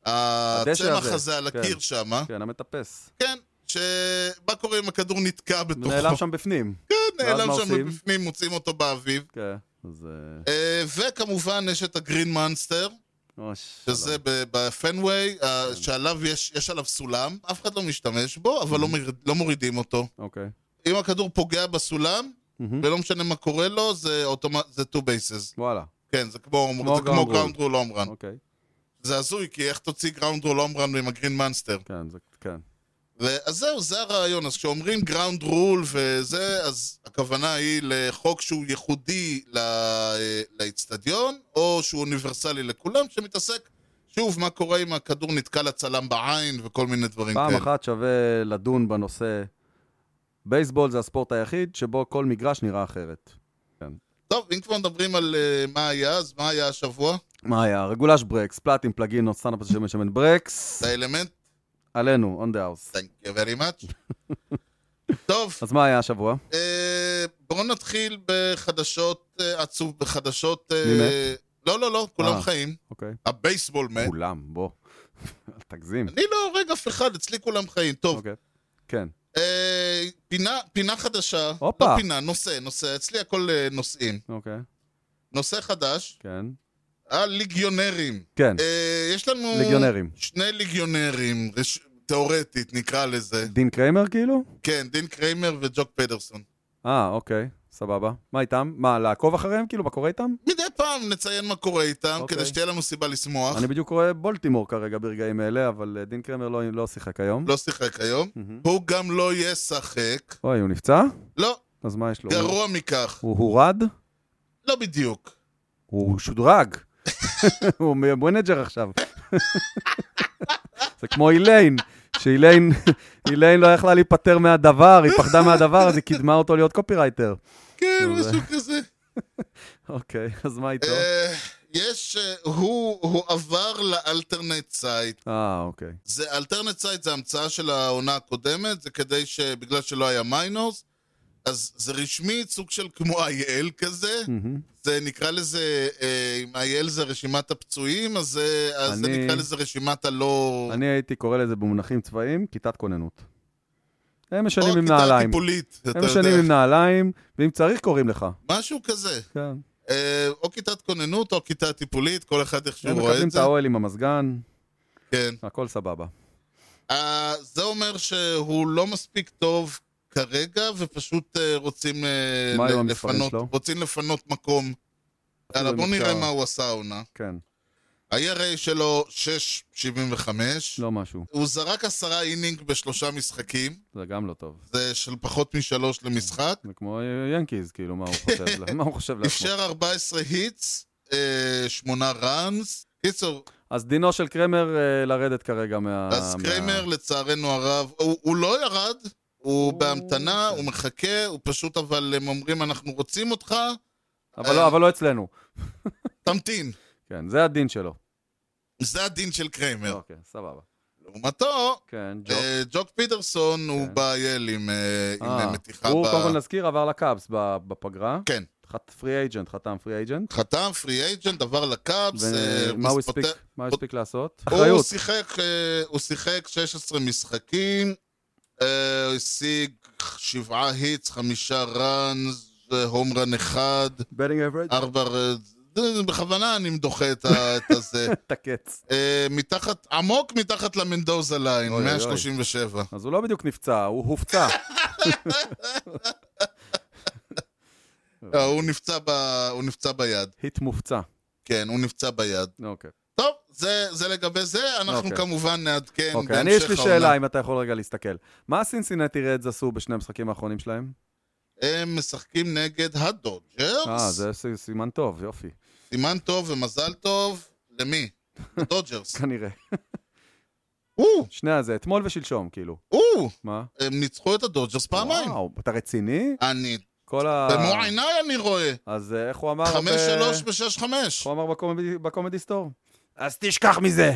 Speaker 1: הדשא
Speaker 2: הצמח
Speaker 1: הזה,
Speaker 2: הזה על
Speaker 1: כן.
Speaker 2: הקיר שם,
Speaker 1: כן, המטפס.
Speaker 2: כן, ש... מה קורה אם הכדור נתקע בתוכו?
Speaker 1: נעלם שם בפנים.
Speaker 2: כן,
Speaker 1: ואז
Speaker 2: נעלם
Speaker 1: מה
Speaker 2: שם
Speaker 1: עושים?
Speaker 2: בפנים, מוצאים אותו באביב.
Speaker 1: כן, אז... אה,
Speaker 2: אה, וכמובן יש את הגרין מאנסטר,
Speaker 1: או, שלום. כן.
Speaker 2: שזה ב- בפנוויי, אה, שעליו יש, יש עליו סולם, אף אחד לא משתמש בו, אבל לא,
Speaker 1: Mm-hmm.
Speaker 2: מוריד, לא מורידים אותו.
Speaker 1: אוקיי.
Speaker 2: אם הכדור פוגע בסולם,
Speaker 1: מהמם.
Speaker 2: ולא משנה מה קורה לו, זה אוטומט, זה two bases.
Speaker 1: וואלה,
Speaker 2: כן, זה כמו,
Speaker 1: כמו
Speaker 2: זה כמו
Speaker 1: ground rule.
Speaker 2: גראונד רול אומרן.
Speaker 1: אוקיי.
Speaker 2: זה הזוי, כי איך תוציא גראונד רול אומרן עם הגרין מאנסטר?
Speaker 1: כן, זה... כן.
Speaker 2: אז זהו, זה הרעיון. אז כשאומרים גראונד רול וזה, אז הכוונה היא לחוק שהוא ייחודי ל- לאיצטדיון, או שהוא אוניברסלי לכולם, שמתעסק, שוב, מה קורה אם הכדור נתקע לצלם בעין וכל מיני דברים
Speaker 1: פעם
Speaker 2: כאלה.
Speaker 1: אחת שווה לדון בנושא... בייסבול זה הספורט היחיד שבו כל מגרש נראה אחרת.
Speaker 2: טוב, אם כבר מדברים על אה, מה היה, אז מה היה השבוע?
Speaker 1: מה היה? רגולש ברקס, פלטים, פלגין, סטנאפ שמן שמן ברקס,
Speaker 2: את האלמנט?
Speaker 1: עלינו, on the house.
Speaker 2: Thank you very much. טוב,
Speaker 1: אז מה היה השבוע?
Speaker 2: אה, בואו נתחיל בחדשות אה, עצוב, בחדשות... אה,
Speaker 1: מי מת?
Speaker 2: לא, לא, לא, כולם
Speaker 1: אה.
Speaker 2: חיים.
Speaker 1: אוקיי.
Speaker 2: הבייסבול מת.
Speaker 1: כולם, בוא. אל תגזים.
Speaker 2: אני לא הורג אף אחד, אצלי כולם חיים. טוב,
Speaker 1: אוקיי. כן.
Speaker 2: אה, פינה- פינה חדשה,
Speaker 1: הופה.
Speaker 2: לא פינה, נושא, נושא, אצלי הכל אה, נושאים.
Speaker 1: אוקיי.
Speaker 2: נושא חדש,
Speaker 1: כן.
Speaker 2: הליגיונרים.
Speaker 1: כן.
Speaker 2: אה, יש לנו...
Speaker 1: ליגיונרים.
Speaker 2: שני ליגיונרים, רש- תיאורטית נקרא לזה.
Speaker 1: דין קריימר כאילו?
Speaker 2: כן, דין קריימר וג'וק פדרסון.
Speaker 1: אה, אוקיי. סבבה. מה איתם? מה, לעקוב אחריהם? כאילו, מה קורה איתם?
Speaker 2: מדי פעם נציין מה קורה איתם,
Speaker 1: אוקיי.
Speaker 2: כדי שתהיה לנו סיבה לשמוח.
Speaker 1: אני בדיוק רואה בולטימור כרגע ברגעים אלה, אבל אה, דין קרמר לא, לא שיחק היום.
Speaker 2: לא שיחק היום.
Speaker 1: מהמם.
Speaker 2: הוא גם לא ישחק.
Speaker 1: אוי, הוא נפצע?
Speaker 2: לא,
Speaker 1: אז מה יש לו? הוא-
Speaker 2: גרוע מכך.
Speaker 1: הוא הורד?
Speaker 2: לא בדיוק.
Speaker 1: הוא שודרג. הוא מנג'ר עכשיו. זה כמו איליין, שאיליין איליין לא יכלה להיפטר מהדבר, היא פחדה מהדבר, אז היא קידמה אותו להיות קופירייטר.
Speaker 2: כן,
Speaker 1: לא זה-
Speaker 2: משהו כזה.
Speaker 1: אוקיי, אז מה איתו?
Speaker 2: אה, יש, אה, הוא הוא עבר לאלטרנט סייט.
Speaker 1: אה, אוקיי.
Speaker 2: זה, אלטרנט סייט זה המצאה של העונה הקודמת, זה כדי ש... בגלל שלא היה מיינורס, אז זה רשמית סוג של כמו IL כזה.
Speaker 1: מהמם.
Speaker 2: זה נקרא לזה, אה, אם IL זה רשימת הפצועים, אז זה, אז זה
Speaker 1: אני-
Speaker 2: נקרא לזה רשימת הלא...
Speaker 1: אני הייתי קורא לזה במונחים צבאיים, כיתת כוננות. הם
Speaker 2: או
Speaker 1: משנים עם
Speaker 2: כיתה
Speaker 1: נעליים.
Speaker 2: טיפולית, אתה
Speaker 1: הם משנים עם
Speaker 2: יודע.
Speaker 1: נעליים, ואם צריך קוראים לך.
Speaker 2: משהו כזה.
Speaker 1: כן.
Speaker 2: אה, או כיתת כוננות או כיתה טיפולית, כל אחד איך
Speaker 1: הם
Speaker 2: שהוא רואה
Speaker 1: מקבלים
Speaker 2: את
Speaker 1: את
Speaker 2: זה.
Speaker 1: האוהל עם המזגן,
Speaker 2: כן.
Speaker 1: הכל סבבה.
Speaker 2: אה, זה אומר שהוא לא מספיק טוב כרגע, ופשוט אה, רוצים אה,
Speaker 1: מה
Speaker 2: ל-
Speaker 1: היו המספרים
Speaker 2: לפנות,
Speaker 1: שלו?
Speaker 2: רוצים לפנות מקום. יאללה, בוא
Speaker 1: אם
Speaker 2: נראה
Speaker 1: אפשר.
Speaker 2: מה הוא עשה העונה.
Speaker 1: כן,
Speaker 2: ה-ERA שלו 6.75.
Speaker 1: לא משהו.
Speaker 2: הוא זרק עשרה אינינג בשלושה משחקים,
Speaker 1: זה גם לא טוב.
Speaker 2: זה של פחות משלוש למשחק.
Speaker 1: זה כמו ינקיז, כאילו, מה הוא חושב לה- מה הוא חושב לעצמו.
Speaker 2: אפשר 14 היטס, אה, שמונה ראנס. קיצור,
Speaker 1: אז דינו של קרמר אה, לרדת כרגע מה...
Speaker 2: אז
Speaker 1: אה, מה-
Speaker 2: קריימר, לצערנו הרב, הוא, הוא לא ירד, הוא בהמתנה,
Speaker 1: אוקיי.
Speaker 2: הוא מחכה, הוא פשוט, אבל הם אומרים, אנחנו רוצים אותך, אה,
Speaker 1: אבל לא- אבל לא אצלנו.
Speaker 2: תמתין.
Speaker 1: כן, זה הדין שלו.
Speaker 2: זה הדין של קריימר.
Speaker 1: אוקיי, סבבה.
Speaker 2: לעומתו,
Speaker 1: כן, ג'ו.
Speaker 2: אה, ג'וק פיטרסון הוא
Speaker 1: כן.
Speaker 2: בייל עם אה, עם,
Speaker 1: אה,
Speaker 2: אה, מתיחה
Speaker 1: הוא
Speaker 2: ב...
Speaker 1: קודם כל נזכיר, עבר לקאבס ב- בפגרה.
Speaker 2: כן.
Speaker 1: חת- פרי אייג'נט, חתם פרי אייג'נט.
Speaker 2: חתם, פרי אייג'נט, עבר לקאבס. אה,
Speaker 1: ומה הוא
Speaker 2: מס-
Speaker 1: הספיק?
Speaker 2: פות-
Speaker 1: מה הוא הספיק לעשות?
Speaker 2: הוא
Speaker 1: אחריות.
Speaker 2: שיחק, אה, הוא שיחק 16 משחקים, אה, הוא השיג שבעה היטס, חמישה ראנס, אה, הום רן אחד.
Speaker 1: בטינג אברג'?
Speaker 2: ארבע... ר- זה- בכוונה אני דוחה את ה- את הזה.
Speaker 1: את הקץ.
Speaker 2: אה, מתחת, עמוק מתחת למנדוזה ליין,
Speaker 1: אוי, אוי, אוי.
Speaker 2: 137.
Speaker 1: אז הוא לא בדיוק נפצע, הוא הופצע.
Speaker 2: אה, הוא נפצע ב- הוא נפצע ביד.
Speaker 1: היט מופצע.
Speaker 2: כן, הוא נפצע ביד.
Speaker 1: אוקיי.
Speaker 2: טוב, זה זה לגבי זה, אנחנו
Speaker 1: אוקיי.
Speaker 2: כמובן נעדכן
Speaker 1: אוקיי, אני יש לי
Speaker 2: בהמשך העונה.
Speaker 1: שאלה אם אתה יכול רגע להסתכל. מה הסינסינטי רדס עשו בשני המשחקים האחרונים שלהם?
Speaker 2: הם משחקים נגד
Speaker 1: אה,
Speaker 2: הדודג'רס.
Speaker 1: זה ס- סימן טוב, יופי,
Speaker 2: סימן טוב ומזל טוב. למי? הדודג'רס.
Speaker 1: כנראה.
Speaker 2: או,
Speaker 1: שני הזה, אתמול ושלשום, כאילו.
Speaker 2: או,
Speaker 1: מה?
Speaker 2: הם ניצחו את הדודג'רס פעמיים.
Speaker 1: וואו, אתה רציני?
Speaker 2: אני,
Speaker 1: כל ה...
Speaker 2: במו עיניי אני רואה.
Speaker 1: אז אה, איך הוא אמר?
Speaker 2: 5-3
Speaker 1: ב-
Speaker 2: ו-6-5.
Speaker 1: איך הוא אמר בקומדי- בקומדי סטור? אז תשכח מזה!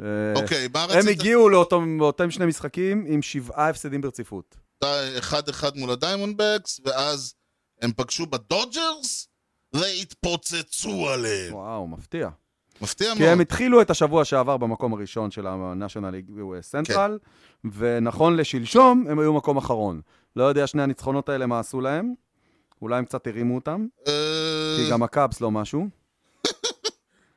Speaker 1: אה,
Speaker 2: אוקיי, מה רצית?
Speaker 1: הם הגיעו לאותו- לאותם שני משחקים עם שבעה הפסדים ברציפות.
Speaker 2: הייתה 1-1 מול הדיימונדבקס, ואז הם פגשו בדודג'רס, והתפוצצו עליהם.
Speaker 1: וואו, מפתיע.
Speaker 2: כן. מפתיע
Speaker 1: כי הם
Speaker 2: מאוד.
Speaker 1: התחילו את השבוע שעבר במקום הראשון של ה-National League Central,
Speaker 2: כן.
Speaker 1: ונכון לשלשום, הם היו מקום אחרון. לא יודע שני הניצחונות האלה מה עשו להם, אולי הם קצת הרימו אותם,
Speaker 2: אה,
Speaker 1: כי גם הקאבס לא משהו,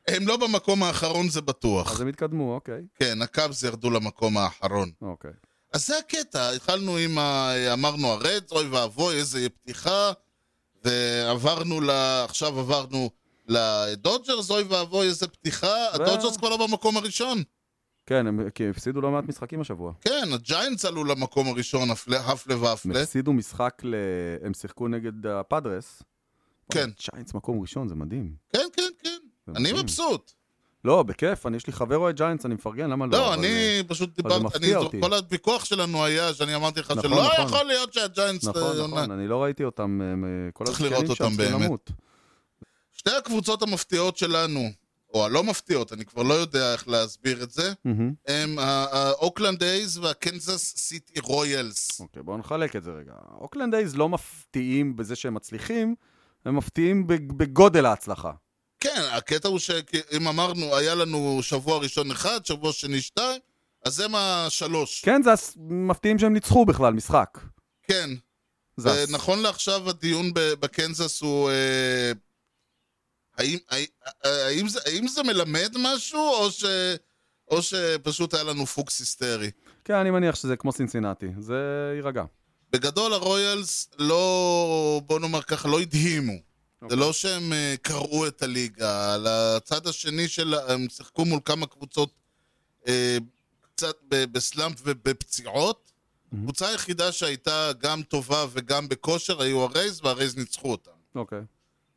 Speaker 2: הם לא במקום האחרון, זה בטוח.
Speaker 1: אז הם התקדמו, אוקיי,
Speaker 2: כן, הקאבס ירדו למקום האחרון.
Speaker 1: אוקיי.
Speaker 2: אז זה הקטע, התחלנו עם ה... אמרנו הרד, אוי ואבוי, איזה פתיחה, ועברנו ל... עכשיו עברנו לדודג'רס, אוי ואבוי, איזה פתיחה, הדודג'רס כבר לא במקום הראשון.
Speaker 1: כן, הם כי הם הפסידו לא מעט משחקים השבוע.
Speaker 2: כן, הג'יינטס עלו למקום הראשון, הפלא- הפלא
Speaker 1: הם
Speaker 2: והפלא.
Speaker 1: הפסידו משחק, ל... הם שיחקו נגד הפאדרס.
Speaker 2: כן.
Speaker 1: וואי, ג'יינטס מקום ראשון, זה מדהים.
Speaker 2: כן, כן, כן.
Speaker 1: זה
Speaker 2: אני
Speaker 1: מדהים.
Speaker 2: מבסוט.
Speaker 1: לא, בכיף, אני, יש לי חבר אוהד גיינטס, אני מפרגן, למה לא?
Speaker 2: לא,
Speaker 1: אבל,
Speaker 2: אני פשוט
Speaker 1: אבל זה
Speaker 2: דיברתי,
Speaker 1: מפתיע
Speaker 2: אני-
Speaker 1: אותי.
Speaker 2: כל הוויכוח שלנו היה שאני אמרתי לך
Speaker 1: נכון,
Speaker 2: שלא
Speaker 1: נכון.
Speaker 2: יכול להיות שהג'יינטס...
Speaker 1: נכון,
Speaker 2: אה,
Speaker 1: נכון, אני לא ראיתי אותם, הם, אה, כל
Speaker 2: צריך
Speaker 1: הזקנים
Speaker 2: לראות
Speaker 1: שם
Speaker 2: אותם
Speaker 1: צריכים
Speaker 2: באמת.
Speaker 1: למות.
Speaker 2: שתי הקבוצות המפתיעות שלנו, או הלא מפתיעות, אני כבר לא יודע איך להסביר את זה,
Speaker 1: מהמם.
Speaker 2: הם ה- האוקלנד אייז והקנזס סיטי רויאלס.
Speaker 1: אוקיי, בואו נחלק את זה רגע. אוקלנד אייז לא מפתיעים בזה שהם מצליחים, הם מפתיעים בג- בגודל ההצלחה.
Speaker 2: כן, הקטע הוא שאם אמרנו, היה לנו שבוע ראשון אחד, שבוע שני שתיים, אז הם השלוש.
Speaker 1: כן, זה הס- מפתיעים שהם ניצחו בכלל משחק.
Speaker 2: כן.
Speaker 1: זה הס-
Speaker 2: נכון לעכשיו הדיון ב- בקנזס הוא... אה, האם, האם, אה, האם, זה, האם זה מלמד משהו, או, ש, או שפשוט היה לנו פוקס היסטרי?
Speaker 1: כן, אני מניח שזה כמו סינסינטי, זה יירגע.
Speaker 2: בגדול הרויאלס לא, בוא נאמר ככה, לא הדהימו. זה
Speaker 1: אוקיי.
Speaker 2: לא שהם אה, קרעו את הליגה, על הצד השני של, הם שיחקו מול כמה קבוצות אה, קצת ב- בסלאמפ ובפציעות. הקבוצה היחידה שהייתה גם טובה וגם בכושר היו הרייז, והרייז ניצחו אותם.
Speaker 1: אוקיי.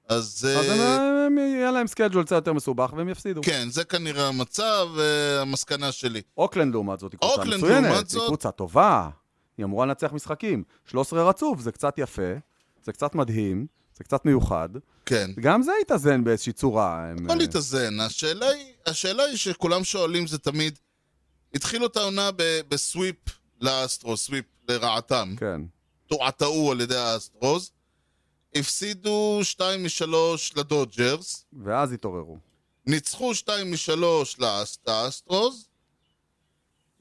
Speaker 2: אז...
Speaker 1: אז
Speaker 2: אה,
Speaker 1: הם הם- יהיה להם סקייג'ול קצת יותר מסובך והם יפסידו.
Speaker 2: כן, זה כנראה המצב, אה, המסקנה שלי.
Speaker 1: אוקלנד לעומת זאת, היא קבוצה
Speaker 2: אוקלנד
Speaker 1: מצוינת,
Speaker 2: לעומת
Speaker 1: היא
Speaker 2: זאת-
Speaker 1: קבוצה טובה, היא אמורה לנצח משחקים. 13 רצוף, זה קצת יפה, זה קצת מדהים, זה קצת מיוחד.
Speaker 2: כן.
Speaker 1: גם זה התאזן באיזושהי צורה. הם,
Speaker 2: הכל
Speaker 1: אה,
Speaker 2: התאזן. השאלה היא, השאלה היא שכולם שואלים זה תמיד, התחילו את העונה ב- בסוויפ לאסטרו, סוויפ לרעתם.
Speaker 1: כן.
Speaker 2: תועתעו על ידי האסטרוס. הפסידו 2 מ-3 לדודג'רס,
Speaker 1: ואז התעוררו.
Speaker 2: ניצחו 2 מ-3 לאסטרוס,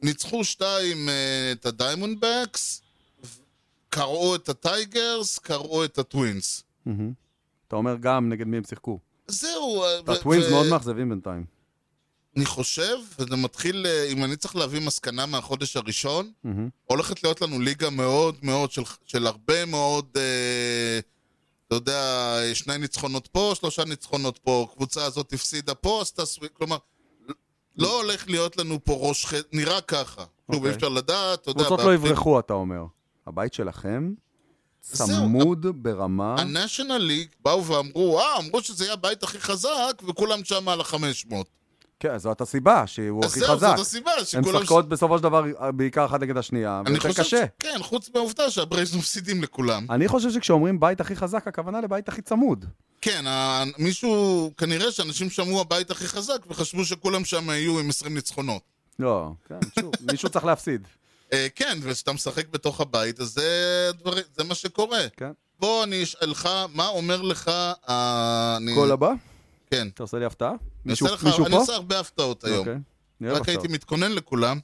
Speaker 2: ניצחו 2 את הדיימונדבקס, קרעו את הטייגרס, קרעו את הטווינס.
Speaker 1: מהמם. אתה אומר גם נגד מי הם שיחקו.
Speaker 2: זהו. אה, ו-
Speaker 1: הטווינס
Speaker 2: ו-
Speaker 1: מאוד מאכזבים בינתיים.
Speaker 2: אני חושב, וזה מתחיל, אה, אם אני צריך להביא מסקנה מהחודש הראשון,
Speaker 1: מהמם.
Speaker 2: הולכת להיות לנו ליגה מאוד מאוד של, של הרבה מאוד, אה, אתה יודע, שני ניצחונות פה, שלושה ניצחונות פה, הקבוצה הזאת הפסידה פה, עשתה סוויק, כלומר, לא הולך להיות לנו פה ראש חץ, נראה ככה. שוב,
Speaker 1: אוקיי.
Speaker 2: אי אפשר לדעת, אתה יודע,
Speaker 1: קבוצות לא
Speaker 2: באפריל-
Speaker 1: יברחו, אתה אומר. הבית שלכם
Speaker 2: זהו,
Speaker 1: צמוד ברמה...
Speaker 2: ה-National League באו ואמרו, אה, אמרו שזה יהיה הבית הכי חזק, וכולם שם על החמש מאות.
Speaker 1: כן, זאת הסיבה, שהוא
Speaker 2: אז
Speaker 1: הכי
Speaker 2: זהו,
Speaker 1: חזק.
Speaker 2: זאת הסיבה,
Speaker 1: הן
Speaker 2: שכולם...
Speaker 1: משחקות בסופו של דבר אה, בעיקר אחת נגד השנייה,
Speaker 2: אני
Speaker 1: ויותר
Speaker 2: חושב
Speaker 1: קשה.
Speaker 2: ש- כן, חוץ מהעובדה שהברייז מפסידים לכולם.
Speaker 1: אני חושב שכשאומרים בית הכי חזק, הכוונה לבית הכי צמוד.
Speaker 2: כן, ה- מישהו, כנראה שאנשים שמעו הבית הכי חזק וחשבו שכולם שם יהיו עם 20 ניצחונות.
Speaker 1: לא, כן, שוב, מישהו צריך להפסיד.
Speaker 2: אה, כן, וכשאתה משחק בתוך הבית, אז זה, הדבר, זה מה שקורה.
Speaker 1: כן.
Speaker 2: בוא אני אשאלך, מה אומר לך ה... אני...
Speaker 1: קול הבא?
Speaker 2: כן.
Speaker 1: אתה עושה לי הפתעה?
Speaker 2: אני
Speaker 1: מישהו
Speaker 2: עושה לך-
Speaker 1: מישהו פה?
Speaker 2: אני עושה הרבה הפתעות היום.
Speaker 1: אוקיי. נראה
Speaker 2: רק
Speaker 1: בסוף.
Speaker 2: הייתי מתכונן לכולם.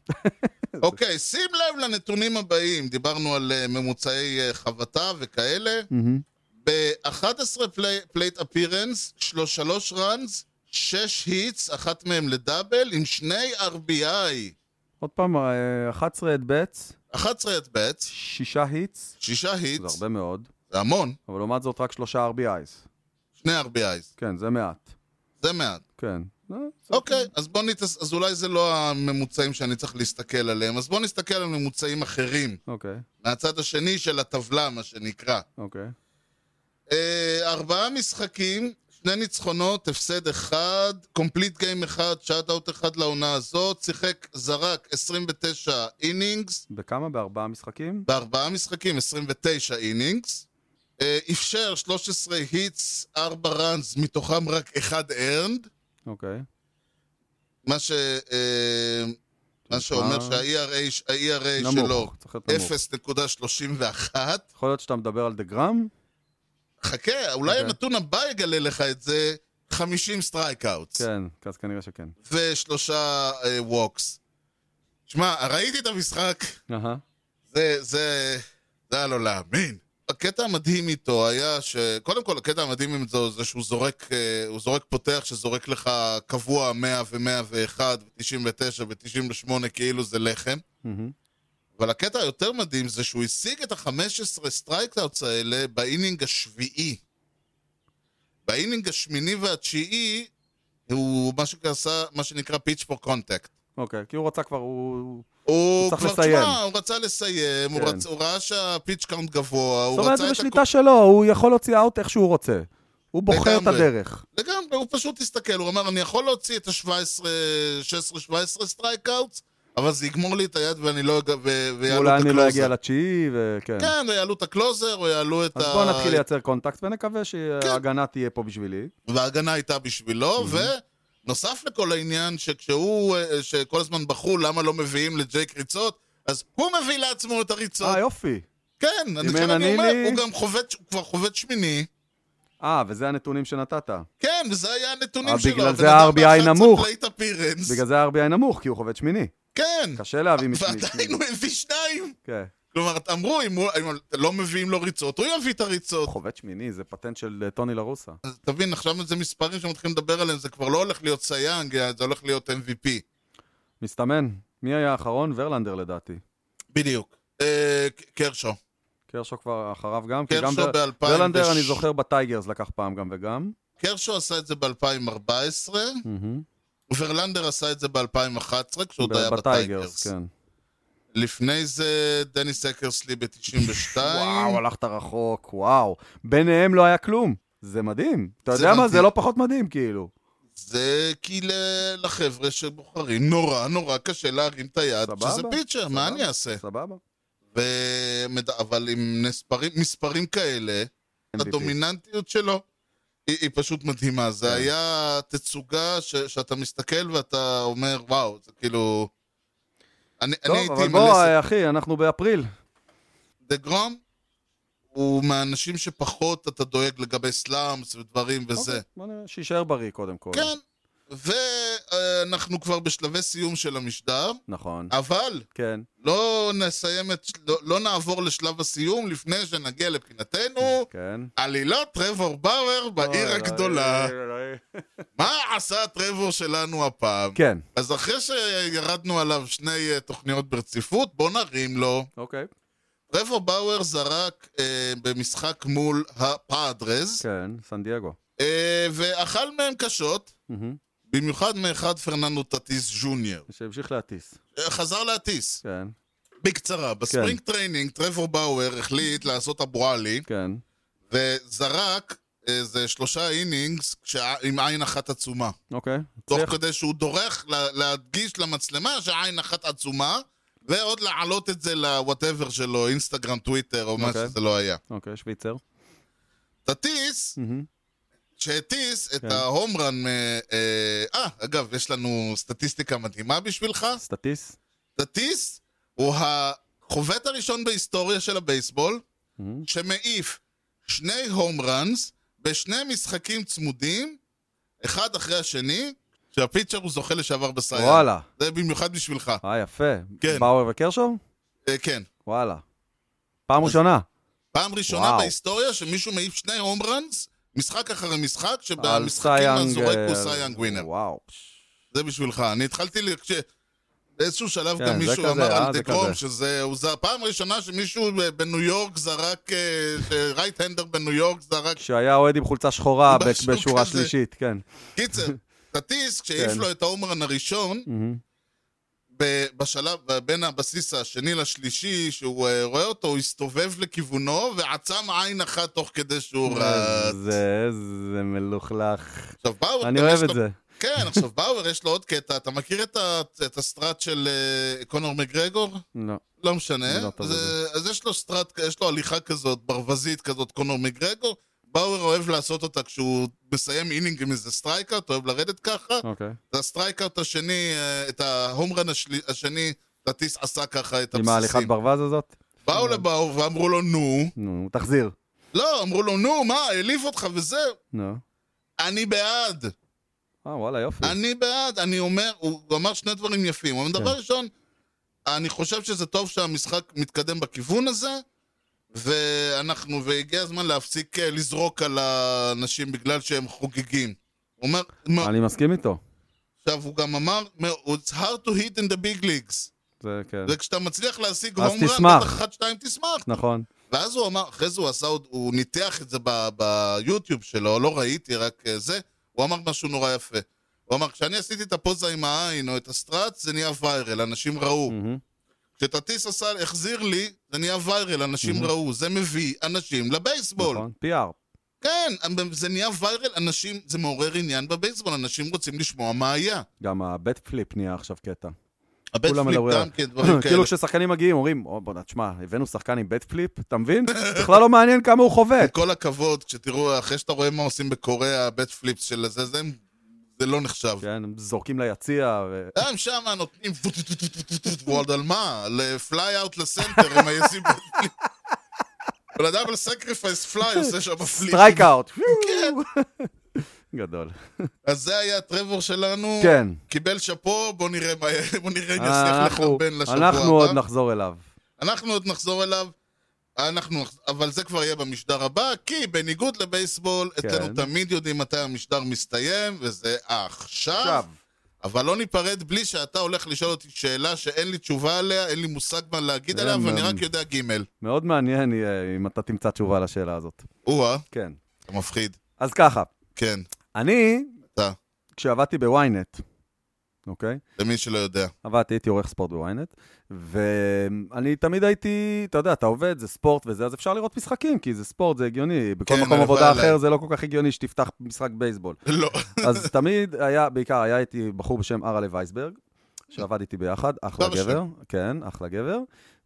Speaker 2: אוקיי, שים לב לנתונים הבאים. דיברנו על אה, ממוצעי אה, חבטה וכאלה.
Speaker 1: מהמם.
Speaker 2: ב-11 פלייט אפירנס, שלוש ראנס, שש היטס, אחת מהם לדאבל, עם שני RBI.
Speaker 1: עוד פעם, אה, 11 את בטס,
Speaker 2: 11 את בטס,
Speaker 1: שישה היטס,
Speaker 2: שישה
Speaker 1: זה
Speaker 2: היטס,
Speaker 1: הרבה מאוד,
Speaker 2: זה המון,
Speaker 1: אבל לעומת זאת רק שלושה RBIs.
Speaker 2: שני RBIs,
Speaker 1: כן, זה מעט.
Speaker 2: זה מעט.
Speaker 1: כן. אה, זה-
Speaker 2: אוקיי, אז בוא נתעס... אז אולי זה לא הממוצעים שאני צריך להסתכל עליהם, אז בוא נסתכל על ממוצעים אחרים,
Speaker 1: אוקיי,
Speaker 2: מהצד השני של הטבלה, מה שנקרא.
Speaker 1: אוקיי.
Speaker 2: אה, ארבעה משחקים, שני ניצחונות, הפסד אחד, קומפליט גיים אחד, שאט אאוט אחד לעונה הזאת, שיחק, זרק 29 אינינגס,
Speaker 1: בכמה? בארבעה משחקים?
Speaker 2: בארבעה משחקים 29 אינינגס, אה, אפשר 13 היטס, 4 ראנס, מתוכם רק אחד ארנד,
Speaker 1: אוקיי.
Speaker 2: מה ש... אה, מה שאומר שה-ERA ש- ה-ERA שלו
Speaker 1: אה. נמוך, צריך להיות נמוך.
Speaker 2: 0.31
Speaker 1: יכול להיות שאתה מדבר על דה גרם?
Speaker 2: חכה, אולי
Speaker 1: אוקיי.
Speaker 2: הנתון הבא יגלה לך את זה 50 סטרייקאוטס
Speaker 1: כן, אז כנראה שכן.
Speaker 2: ושלושה ווקס. שמע, ראיתי את המשחק,
Speaker 1: אהה.
Speaker 2: זה, זה, זה היה לא להאמין. הקטע המדהים איתו היה ש... קודם כל, הקטע המדהים עם זה זה שהוא זורק, אה, הוא זורק פותח שזורק לך קבוע 100 ו-101 ו-99 ו-98 כאילו זה לחם.
Speaker 1: מהמם.
Speaker 2: אבל הקטע היותר מדהים זה שהוא השיג את ה-15 סטרייקאוטס האלה באינינג השביעי. באינינג השמיני והתשיעי הוא מה, שעשה, מה שנקרא pitch for contact.
Speaker 1: אוקיי, כי הוא רצה כבר, הוא...
Speaker 2: הוא
Speaker 1: צריך
Speaker 2: כבר,
Speaker 1: לסיים.
Speaker 2: תשמע, הוא רצה לסיים, הוא,
Speaker 1: כן.
Speaker 2: רצ... הוא ראה שהפיץ' קאונט גבוה,
Speaker 1: זאת
Speaker 2: הוא
Speaker 1: אומרת,
Speaker 2: רצה
Speaker 1: זה
Speaker 2: את
Speaker 1: בשליטה שלו, הוא יכול להוציא אאוט איך שהוא רוצה. הוא בוחר את
Speaker 2: לגמרי.
Speaker 1: הדרך.
Speaker 2: לגמרי, הוא פשוט הסתכל, הוא אמר, אני יכול להוציא את ה-17, 16-17 סטרייקאוטס, אבל זה יגמור לי את היד ואני לא... אג- ו... ויעלו
Speaker 1: אולי
Speaker 2: את
Speaker 1: אני לא אגיע
Speaker 2: הקלוזר.
Speaker 1: לתשיעי, וכן.
Speaker 2: כן, ויעלו את הקלוזר, או יעלו את
Speaker 1: אז
Speaker 2: ה...
Speaker 1: בואו נתחיל לייצר קונטקט, ונקווה
Speaker 2: כן.
Speaker 1: שההגנה תהיה פה בשבילי.
Speaker 2: וההגנה הייתה בשבילו,
Speaker 1: Mm-hmm.
Speaker 2: ונוסף לכל העניין שכשהוא, אה, שכל הזמן בחרו למה לא מביאים לג'ייק ריצות, אז הוא מביא לעצמו את הריצות.
Speaker 1: אה, יופי.
Speaker 2: כן, אני
Speaker 1: אין
Speaker 2: כן אני
Speaker 1: אני
Speaker 2: אומר,
Speaker 1: לי-
Speaker 2: הוא גם חובט, הוא כבר חובט שמיני.
Speaker 1: אה, וזה הנתונים שנתת.
Speaker 2: כן, וזה היה הנתונים
Speaker 1: אה,
Speaker 2: שלו.
Speaker 1: בגלל
Speaker 2: הבן
Speaker 1: זה
Speaker 2: אדם
Speaker 1: ה-RBI
Speaker 2: לחץ על
Speaker 1: נמוך.
Speaker 2: plate appearance.
Speaker 1: בגלל זה ה-RBI נמוך, כי הוא חובד שמיני.
Speaker 2: כן,
Speaker 1: קשה להביא משמיני.
Speaker 2: ועדיין הוא הביא שניים.
Speaker 1: כן.
Speaker 2: כלומר, אמרו, אם הוא- אם לא מביאים לו ריצות, הוא יביא את הריצות.
Speaker 1: חובד שמיני, זה פטנט של אה, טוני לרוסה.
Speaker 2: אז תבין, עכשיו זה מספרים שמתחילים לדבר עליהם, זה כבר לא הולך להיות סייאנג, אה, זה הולך להיות MVP.
Speaker 1: מסתמן. מי היה האחרון? ורלנדר לדעתי.
Speaker 2: בדיוק. אה, ק- קרשו.
Speaker 1: קרשו כבר אחריו גם. כי אוקיי, גם
Speaker 2: קרשו
Speaker 1: ור-
Speaker 2: ב-2006.
Speaker 1: ורלנדר, אני זוכר בטייגרס לקח פעם גם וגם.
Speaker 2: קרשו עשה את זה ב-2014,
Speaker 1: מהמם.
Speaker 2: וורלנדר עשה את זה ב-2011, כשעוד
Speaker 1: ב-
Speaker 2: היה בטייגרס.
Speaker 1: כן.
Speaker 2: לפני זה דניס אקרסלי ב-92.
Speaker 1: וואו, הלכת רחוק, וואו. ביניהם לא היה כלום. זה מדהים. אתה
Speaker 2: זה
Speaker 1: יודע מה? זה
Speaker 2: מדהים.
Speaker 1: לא פחות מדהים, כאילו.
Speaker 2: זה כי ל- לחבר'ה שבוחרים נורא נורא קשה להרים את היד,
Speaker 1: סבבה,
Speaker 2: שזה פיצ'ר, מה
Speaker 1: סבבה.
Speaker 2: אני אעשה?
Speaker 1: סבבה?
Speaker 2: ומד... אבל עם נספרים, מספרים כאלה,
Speaker 1: MVP.
Speaker 2: הדומיננטיות שלו היא, היא פשוט מדהימה. זה
Speaker 1: כן.
Speaker 2: היה תצוגה ש, שאתה מסתכל ואתה אומר, וואו, זה כאילו... אני,
Speaker 1: טוב,
Speaker 2: אני הייתי
Speaker 1: אבל
Speaker 2: עם
Speaker 1: בוא, אה,
Speaker 2: הלסת
Speaker 1: אחי, אנחנו באפריל.
Speaker 2: דה גרום, הוא מהאנשים שפחות אתה דואג לגבי סלאמס ודברים וזה.
Speaker 1: אוקיי, בוא נראה, שיישאר בריא קודם כל.
Speaker 2: כן, ואנחנו כבר בשלבי סיום של המשדר,
Speaker 1: נכון.
Speaker 2: אבל
Speaker 1: כן.
Speaker 2: לא נסיים את... לא, לא נעבור לשלב הסיום לפני שנגיע לבחינתנו.
Speaker 1: כן.
Speaker 2: עלילות טרוור באואר בעיר
Speaker 1: אוי,
Speaker 2: הגדולה.
Speaker 1: אוי, אוי, אוי.
Speaker 2: מה עשה הטרוור שלנו הפעם?
Speaker 1: כן,
Speaker 2: אז אחרי שירדנו עליו שני אה, תוכניות ברציפות, בוא נרים לו.
Speaker 1: אוקיי.
Speaker 2: טרוור באואר זרק אה, במשחק מול הפאדרז,
Speaker 1: כן, סן דייגו.
Speaker 2: אה, ואכל מהם קשות,
Speaker 1: מהמם.
Speaker 2: במיוחד מאחד פרננדו טטיס ג'וניור.
Speaker 1: שהמשיך להטיס.
Speaker 2: אה, חזר להטיס.
Speaker 1: כן,
Speaker 2: בקצרה, בספרינג טריינינג טרוור באואר החליט לעשות אבו עלי,
Speaker 1: כן.
Speaker 2: וזרק איזה שלושה אינינגס כשה- עם עין אחת עצומה.
Speaker 1: אוקיי.
Speaker 2: תוך
Speaker 1: הצליח.
Speaker 2: כדי שהוא דורך לה, להדגיש למצלמה שעין אחת עצומה, ועוד להעלות את זה לוואטאבר שלו, אינסטגרם, טוויטר, או מה
Speaker 1: אוקיי.
Speaker 2: שזה לא היה.
Speaker 1: אוקיי, שוויצר.
Speaker 2: תטיס,
Speaker 1: מהמם.
Speaker 2: שהטיס את
Speaker 1: כן.
Speaker 2: ההומרן, אה, אה, אה, אגב, יש לנו סטטיסטיקה מדהימה בשבילך.
Speaker 1: סטטיס.
Speaker 2: תטיס הוא החובט הראשון בהיסטוריה של הבייסבול,
Speaker 1: מהמם.
Speaker 2: שמעיף שני הום ראנס בשני משחקים צמודים, אחד אחרי השני, שהפיצ'ר הוא זוכה לשעבר בסייאן.
Speaker 1: וואלה.
Speaker 2: זה במיוחד בשבילך.
Speaker 1: אה, יפה.
Speaker 2: כן.
Speaker 1: באואר וקרשו?
Speaker 2: אה, כן.
Speaker 1: וואלה. פעם ראשונה.
Speaker 2: פעם ראשונה
Speaker 1: וואו.
Speaker 2: בהיסטוריה שמישהו מעיף שני הום ראנס, משחק אחרי משחק,
Speaker 1: על
Speaker 2: שבמשחקים
Speaker 1: סייאנג,
Speaker 2: הזורק
Speaker 1: אה,
Speaker 2: הוא סייאנג ווינר.
Speaker 1: וואו.
Speaker 2: זה בשבילך. אני התחלתי ל... כש... באיזשהו שלב
Speaker 1: כן,
Speaker 2: גם
Speaker 1: זה
Speaker 2: מישהו
Speaker 1: כזה,
Speaker 2: אמר
Speaker 1: אה,
Speaker 2: על
Speaker 1: זה
Speaker 2: דה גרום,
Speaker 1: כזה.
Speaker 2: שזה הוא זה הפעם הראשונה שמישהו ב- בניו יורק זרק, רייט הנדר בניו יורק זרק
Speaker 1: כשהיה אוהד עם חולצה שחורה
Speaker 2: משהו
Speaker 1: ב- בשורה
Speaker 2: כזה.
Speaker 1: שלישית, כן.
Speaker 2: קיצר, טטיס, כשהעיף
Speaker 1: כן.
Speaker 2: לו את ההומרן הראשון,
Speaker 1: מהמם.
Speaker 2: ב- בשלב, בין הבסיס השני לשלישי, שהוא אה, רואה אותו, הוא הסתובב לכיוונו, ועצם עין אחת תוך כדי
Speaker 1: כן.
Speaker 2: שהוא רץ.
Speaker 1: זה, זה מלוכלך.
Speaker 2: עכשיו, באואר...
Speaker 1: אני
Speaker 2: גם
Speaker 1: אוהב
Speaker 2: יש
Speaker 1: את
Speaker 2: לו-
Speaker 1: זה.
Speaker 2: כן, עכשיו, באואר יש לו עוד קטע. אתה מכיר את ה- את הסטראט של אה, קונור מגרגור?
Speaker 1: לא.
Speaker 2: לא משנה.
Speaker 1: אני לא טוב
Speaker 2: זה- אז יש לו סטראט, יש לו הליכה כזאת, ברווזית כזאת, קונור מגרגור. באואר אוהב לעשות אותה כשהוא מסיים אינינג עם איזה סטרייקאוט, אוהב לרדת ככה.
Speaker 1: אוקיי.
Speaker 2: את הסטרייקאוט השני, אה, את ההומרן השלי- השני, טטיס עשה ככה את
Speaker 1: עם ההליכת
Speaker 2: הבסיסים.
Speaker 1: ברווז הזאת?
Speaker 2: באו לבאו ואמרו לו נו.
Speaker 1: נו, תחזיר.
Speaker 2: לא, אמרו לו נו, מה, העליב אותך וזה.
Speaker 1: נו.
Speaker 2: אני בעד,
Speaker 1: אה, וואלה, יופי.
Speaker 2: אני בעד, אני אומר, הוא הוא אמר שני דברים יפים. הוא אמר,
Speaker 1: כן.
Speaker 2: דבר ראשון, אני חושב שזה טוב שהמשחק מתקדם בכיוון הזה, ואנחנו, והגיע הזמן להפסיק אה, לזרוק על האנשים בגלל שהם חוגגים. הוא אומר, "מה-"
Speaker 1: אני מסכים איתו.
Speaker 2: עכשיו הוא גם אמר, it's hard to hit in the big leagues.
Speaker 1: זה כן.
Speaker 2: וכשאתה מצליח להשיג
Speaker 1: אז
Speaker 2: הום רן,
Speaker 1: תשמח.
Speaker 2: בטח אחת, שתיים, תשמח.
Speaker 1: נכון.
Speaker 2: ואז הוא אמר, אחרי זה הוא עשה עוד, הוא ניתח את זה ב- ביוטיוב שלו, לא ראיתי, רק אה, זה, הוא אמר משהו נורא יפה. הוא אמר, כשאני עשיתי את הפוזה עם העין או את הסטראט, זה נהיה ויירל, אנשים ראו.
Speaker 1: מהמם.
Speaker 2: כשטטיס עשה, החזיר לי, זה נהיה ויירל, אנשים
Speaker 1: Mhm.
Speaker 2: ראו. זה מביא אנשים לבייסבול.
Speaker 1: נכון. PR.
Speaker 2: כן, זה נהיה ויירל, אנשים, זה מעורר עניין בבייסבול, אנשים רוצים לשמוע מה היה.
Speaker 1: גם הבט פליפ נהיה עכשיו קטע.
Speaker 2: הבית
Speaker 1: כולם
Speaker 2: פליפ
Speaker 1: מדברים.
Speaker 2: גם כן, דברים כאלה.
Speaker 1: כאילו כששחקנים מגיעים, אומרים, "או, בוא'נה, תשמע, הבאנו שחקן עם בט פליפ, אתה מבין? בכלל לא מעניין כמה הוא
Speaker 2: עם
Speaker 1: חובט.
Speaker 2: כל הכבוד, כשתראו, אחרי שאתה רואה מה עושים בקוריאה, הבית פליפס של זה, זה, זה לא נחשב.
Speaker 1: כן, הם זורקים ליציע, ו-
Speaker 2: גם שם נותנים טו- טו- טו- טו- טו- טו- טו- טו- ועוד על מה? לפליי אאוט לסנטר הם עושים בית פליפ. בן אדם על סקריפייס פליי עושה שם פליפ.
Speaker 1: סטרייק אאוט. כן. גדול.
Speaker 2: אז זה היה הטרבור שלנו.
Speaker 1: כן.
Speaker 2: קיבל שאפו, בוא נראה מה יהיה, בוא נראה אם יצליח
Speaker 1: אנחנו
Speaker 2: לחרבן לשבוע הבא.
Speaker 1: אנחנו עוד נחזור אליו.
Speaker 2: אנחנו עוד נחזור אליו. אנחנו, נחז- אבל זה כבר יהיה במשדר הבא, כי בניגוד לבייסבול,
Speaker 1: כן.
Speaker 2: אצלנו תמיד יודעים מתי המשדר מסתיים, וזה עכשיו.
Speaker 1: עכשיו.
Speaker 2: אבל לא ניפרד בלי שאתה הולך לשאול אותי שאלה שאין לי תשובה עליה, אין לי מושג מה להגיד
Speaker 1: זה
Speaker 2: עליה, ואני
Speaker 1: מ-
Speaker 2: רק יודע ג'
Speaker 1: מאוד מעניין יהיה אם אתה תמצא תשובה לשאלה הזאת.
Speaker 2: או-אה,
Speaker 1: כן.
Speaker 2: אתה מפחיד.
Speaker 1: אז ככה,
Speaker 2: כן,
Speaker 1: אני,
Speaker 2: אתה.
Speaker 1: כשעבדתי בוויינט, אוקיי?
Speaker 2: למי שלא יודע.
Speaker 1: עבדתי, הייתי עורך ספורט בוויינט, ואני תמיד הייתי, אתה יודע, אתה עובד, זה ספורט וזה, אז אפשר לראות משחקים, כי זה ספורט, זה הגיוני. בכל
Speaker 2: כן,
Speaker 1: מקום
Speaker 2: הלוואי
Speaker 1: עבודה
Speaker 2: עליי.
Speaker 1: אחר זה לא כל כך הגיוני שתפתח משחק בייסבול.
Speaker 2: לא.
Speaker 1: אז תמיד היה, בעיקר היה איתי בחור בשם ארלה וייסברג, שעבד איתי ביחד, אחלה
Speaker 2: אבא שלי.
Speaker 1: גבר, כן, אחלה גבר,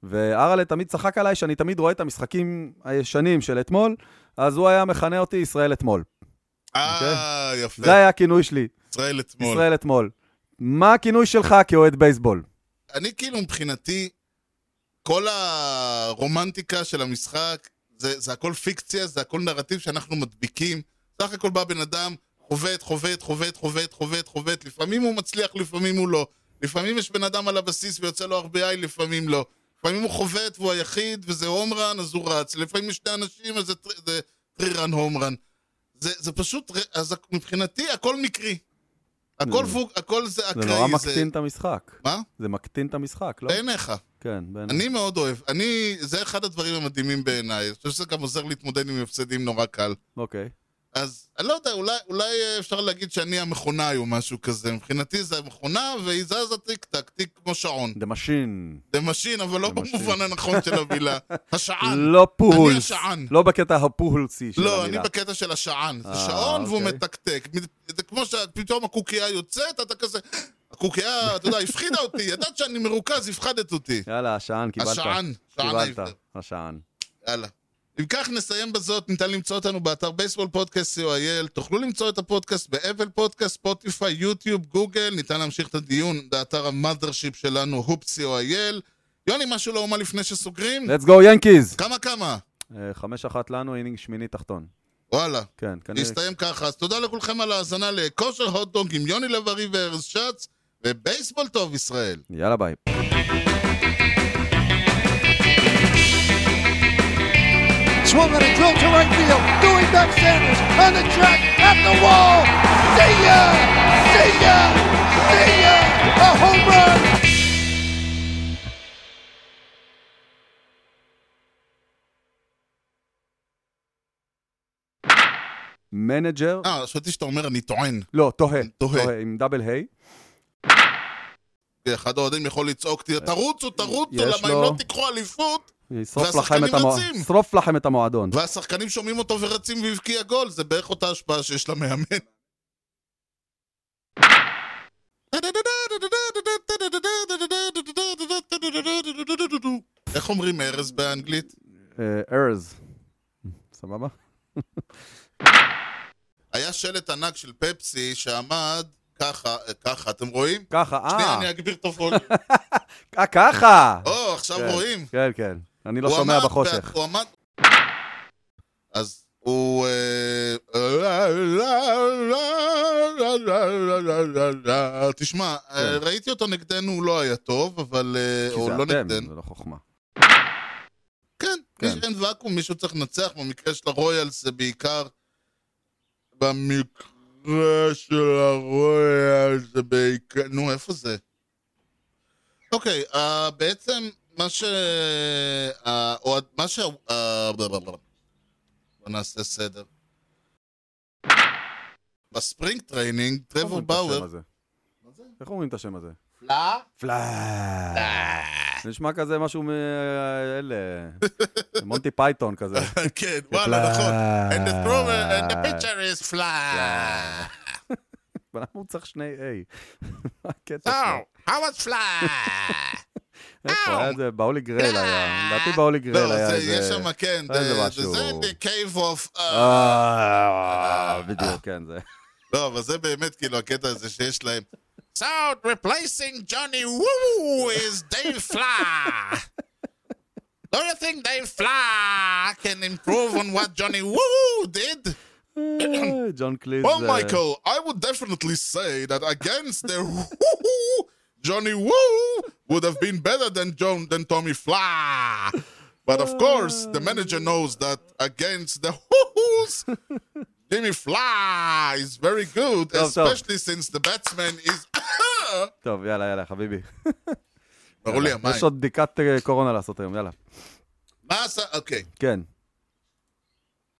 Speaker 1: וארלה תמיד צחק עליי שאני תמיד רואה את המשחקים הישנים של אתמול, אז הוא היה מכנה אותי ישראל אתמול.
Speaker 2: אה, יפה.
Speaker 1: זה היה הכינוי שלי,
Speaker 2: ישראל אתמול.
Speaker 1: ישראל אתמול. מה הכינוי שלך כאוהד בייסבול?
Speaker 2: אני כאילו מבחינתי, כל הרומנטיקה של המשחק, זה, זה הכל פיקציה, זה הכל נרטיב שאנחנו מדביקים. סך הכל בא בן אדם, חובט, חובט, חובט, חובט, חובט, חובט, לפעמים הוא מצליח, לפעמים הוא לא. לפעמים יש בן אדם על הבסיס ויוצא לו RBI, לפעמים לא. לפעמים הוא חובט והוא היחיד, וזה הום רן, אז הוא רץ. לפעמים יש שני אנשים, אז זה טר- זה טרי רן הום רן. זה, זה פשוט, ר- אז מבחינתי הכל מקרי. הכל
Speaker 1: זה-
Speaker 2: פוק, הכל זה
Speaker 1: Mm. זה
Speaker 2: אקראי.
Speaker 1: נורא מקטין את המשחק.
Speaker 2: מה?
Speaker 1: זה מקטין את המשחק, לא?
Speaker 2: בעיניך.
Speaker 1: כן, בעיניי.
Speaker 2: אני מאוד אוהב. אני, זה אחד הדברים המדהימים בעיניי. אני חושב שזה גם עוזר להתמודד עם הפסדים נורא קל.
Speaker 1: אוקיי.
Speaker 2: אז אני לא יודע, אולי, אולי אה, אפשר להגיד שאני המכונאי או משהו כזה. מבחינתי זה המכונה, והיא זזה טיק טק, טיק כמו שעון.
Speaker 1: The Machine.
Speaker 2: זה משין, אבל לא
Speaker 1: זה משין.
Speaker 2: במובן הנכון של המילה. השען.
Speaker 1: לא פולס.
Speaker 2: השען.
Speaker 1: לא בקטע הפולסי של
Speaker 2: לא, אני
Speaker 1: המילה.
Speaker 2: בקטע של השען. זה
Speaker 1: אה,
Speaker 2: שעון והוא
Speaker 1: אוקיי.
Speaker 2: מתקתק. מ- זה כמו שפתאום הקוקייה יוצאת, אתה כזה... הקוקייה, אתה יודע, הפחידה אותי. ידעת שאני מרוכז, הפחדת אותי.
Speaker 1: יאללה, השען, קיבלת.
Speaker 2: השען. שען
Speaker 1: קיבלת,
Speaker 2: ההבדל.
Speaker 1: השען.
Speaker 2: יאללה. אם כך נסיים בזאת, ניתן למצוא אותנו באתר בייסבול פודקאסט co.il. תוכלו למצוא את הפודקאסט באפל פודקאסט, ספוטיפיי, יוטיוב, גוגל. ניתן להמשיך את הדיון באתר המאדרשיפ שלנו, הופ co.il. יוני, משהו לא אומר לפני שסוגרים?
Speaker 1: Let's go, ינקיז!
Speaker 2: כמה כמה?
Speaker 1: אה, חמש אחת לנו, אינינג שמיני תחתון.
Speaker 2: וואלה.
Speaker 1: כן, כנראה.
Speaker 2: להסתיים ככה. אז תודה לכולכם על ההאזנה לכושר הוטדונג עם יוני לב-ארי וארז שץ, ובייסבול טוב ישראל.
Speaker 1: יאללה, ביי.
Speaker 6: Swung and a drill to right field. Doing back Sanders on the track at the wall. See ya! See ya! See ya! A home run!
Speaker 1: מנג'ר,
Speaker 2: אה, חשבתי שאתה אומר אני טוען.
Speaker 1: לא, תוהה.
Speaker 2: תוהה.
Speaker 1: תוהה, עם דאבל היי.
Speaker 2: כי אחד האוהדים יכול לצעוק, תרוצו, תרוצו,
Speaker 1: יש
Speaker 2: למה אם
Speaker 1: לו-
Speaker 2: לא תיקחו אליפות?
Speaker 1: ישרוף לכם
Speaker 2: והשחקנים
Speaker 1: את המוע-
Speaker 2: רצים.
Speaker 1: שרוף לכם את המועדון.
Speaker 2: והשחקנים שומעים אותו ורצים והבקיע גול, זה בערך אותה השפעה שיש למאמן. איך אומרים ארז באנגלית?
Speaker 1: אה, ארז. סבבה?
Speaker 2: היה שלט ענק של פפסי שעמד ככה, אה, ככה, אתם רואים?
Speaker 1: ככה,
Speaker 2: שנייה,
Speaker 1: אה.
Speaker 2: אני אגביר את הפוליום.
Speaker 1: אה, ככה!
Speaker 2: או, עכשיו
Speaker 1: כן,
Speaker 2: רואים.
Speaker 1: כן, כן. אני לא
Speaker 2: הוא
Speaker 1: שומע
Speaker 2: עמד
Speaker 1: בחושך.
Speaker 2: בה- הוא עמד... אז הוא... אה, תשמע, אה, ראיתי אותו נגדנו, הוא לא היה טוב, אבל... אה,
Speaker 1: כן. כי
Speaker 2: הוא
Speaker 1: זה
Speaker 2: לא
Speaker 1: אתם,
Speaker 2: נגדנו.
Speaker 1: זה לא חוכמה.
Speaker 2: כן,
Speaker 1: כן.
Speaker 2: מי- אין ואקום, מישהו צריך לנצח. במקרה של הרויאלס זה בעיקר... במקרה של הרויאלס זה בעיקר... נו, איפה זה? אוקיי, אה, בעצם מה ש... אה, אוהד- מה ש... אה, בלה, בלה, בלה. בוא נעשה סדר. בספרינג טריינינג,
Speaker 1: איך
Speaker 2: טרוור
Speaker 1: אומרים לא את השם
Speaker 2: באואר...
Speaker 1: הזה? איך אומרים את השם הזה?
Speaker 2: פלא?
Speaker 1: פלאש. זה נשמע כזה משהו מאלה, מונטי פייתון כזה.
Speaker 2: כן, וואלה, נכון. And the thrower and the pitcher is fly.
Speaker 1: אבל למה הוא צריך שני A? מה הקטע שלו?
Speaker 2: So, how was fly?
Speaker 1: איפה היה את זה? באולי גרל היה. לדעתי באולי גרל
Speaker 2: אה. לא,
Speaker 1: היה
Speaker 2: זה,
Speaker 1: איזה...
Speaker 2: יש שם, כן,
Speaker 1: היה איזה
Speaker 2: זה-
Speaker 1: משהו.
Speaker 2: זה the cave of... אה,
Speaker 1: אה, בדיוק, כן, זה.
Speaker 2: לא, אבל זה באמת כאילו הקטע הזה שיש להם. So, replacing Johnny Woo is Dave Fly. Don't you think Dave Fly can improve on what Johnny Woo did?
Speaker 1: אה, ג'ון קליז...
Speaker 2: Well,
Speaker 1: אה,
Speaker 2: Michael, I would definitely say that against the Woo, Johnny Woo would have been better than John than Tommy Fla. But of course, the manager knows that against the Woo's, Jimmy Fla is very good,
Speaker 1: טוב, טוב.
Speaker 2: especially since the batsman is.
Speaker 1: טוב, יאללה, יאללה, חביבי.
Speaker 2: ברור לי המים.
Speaker 1: יש עוד בדיקת אה, קורונה לעשות היום, יאללה.
Speaker 2: מה עשה? אוקיי.
Speaker 1: כן.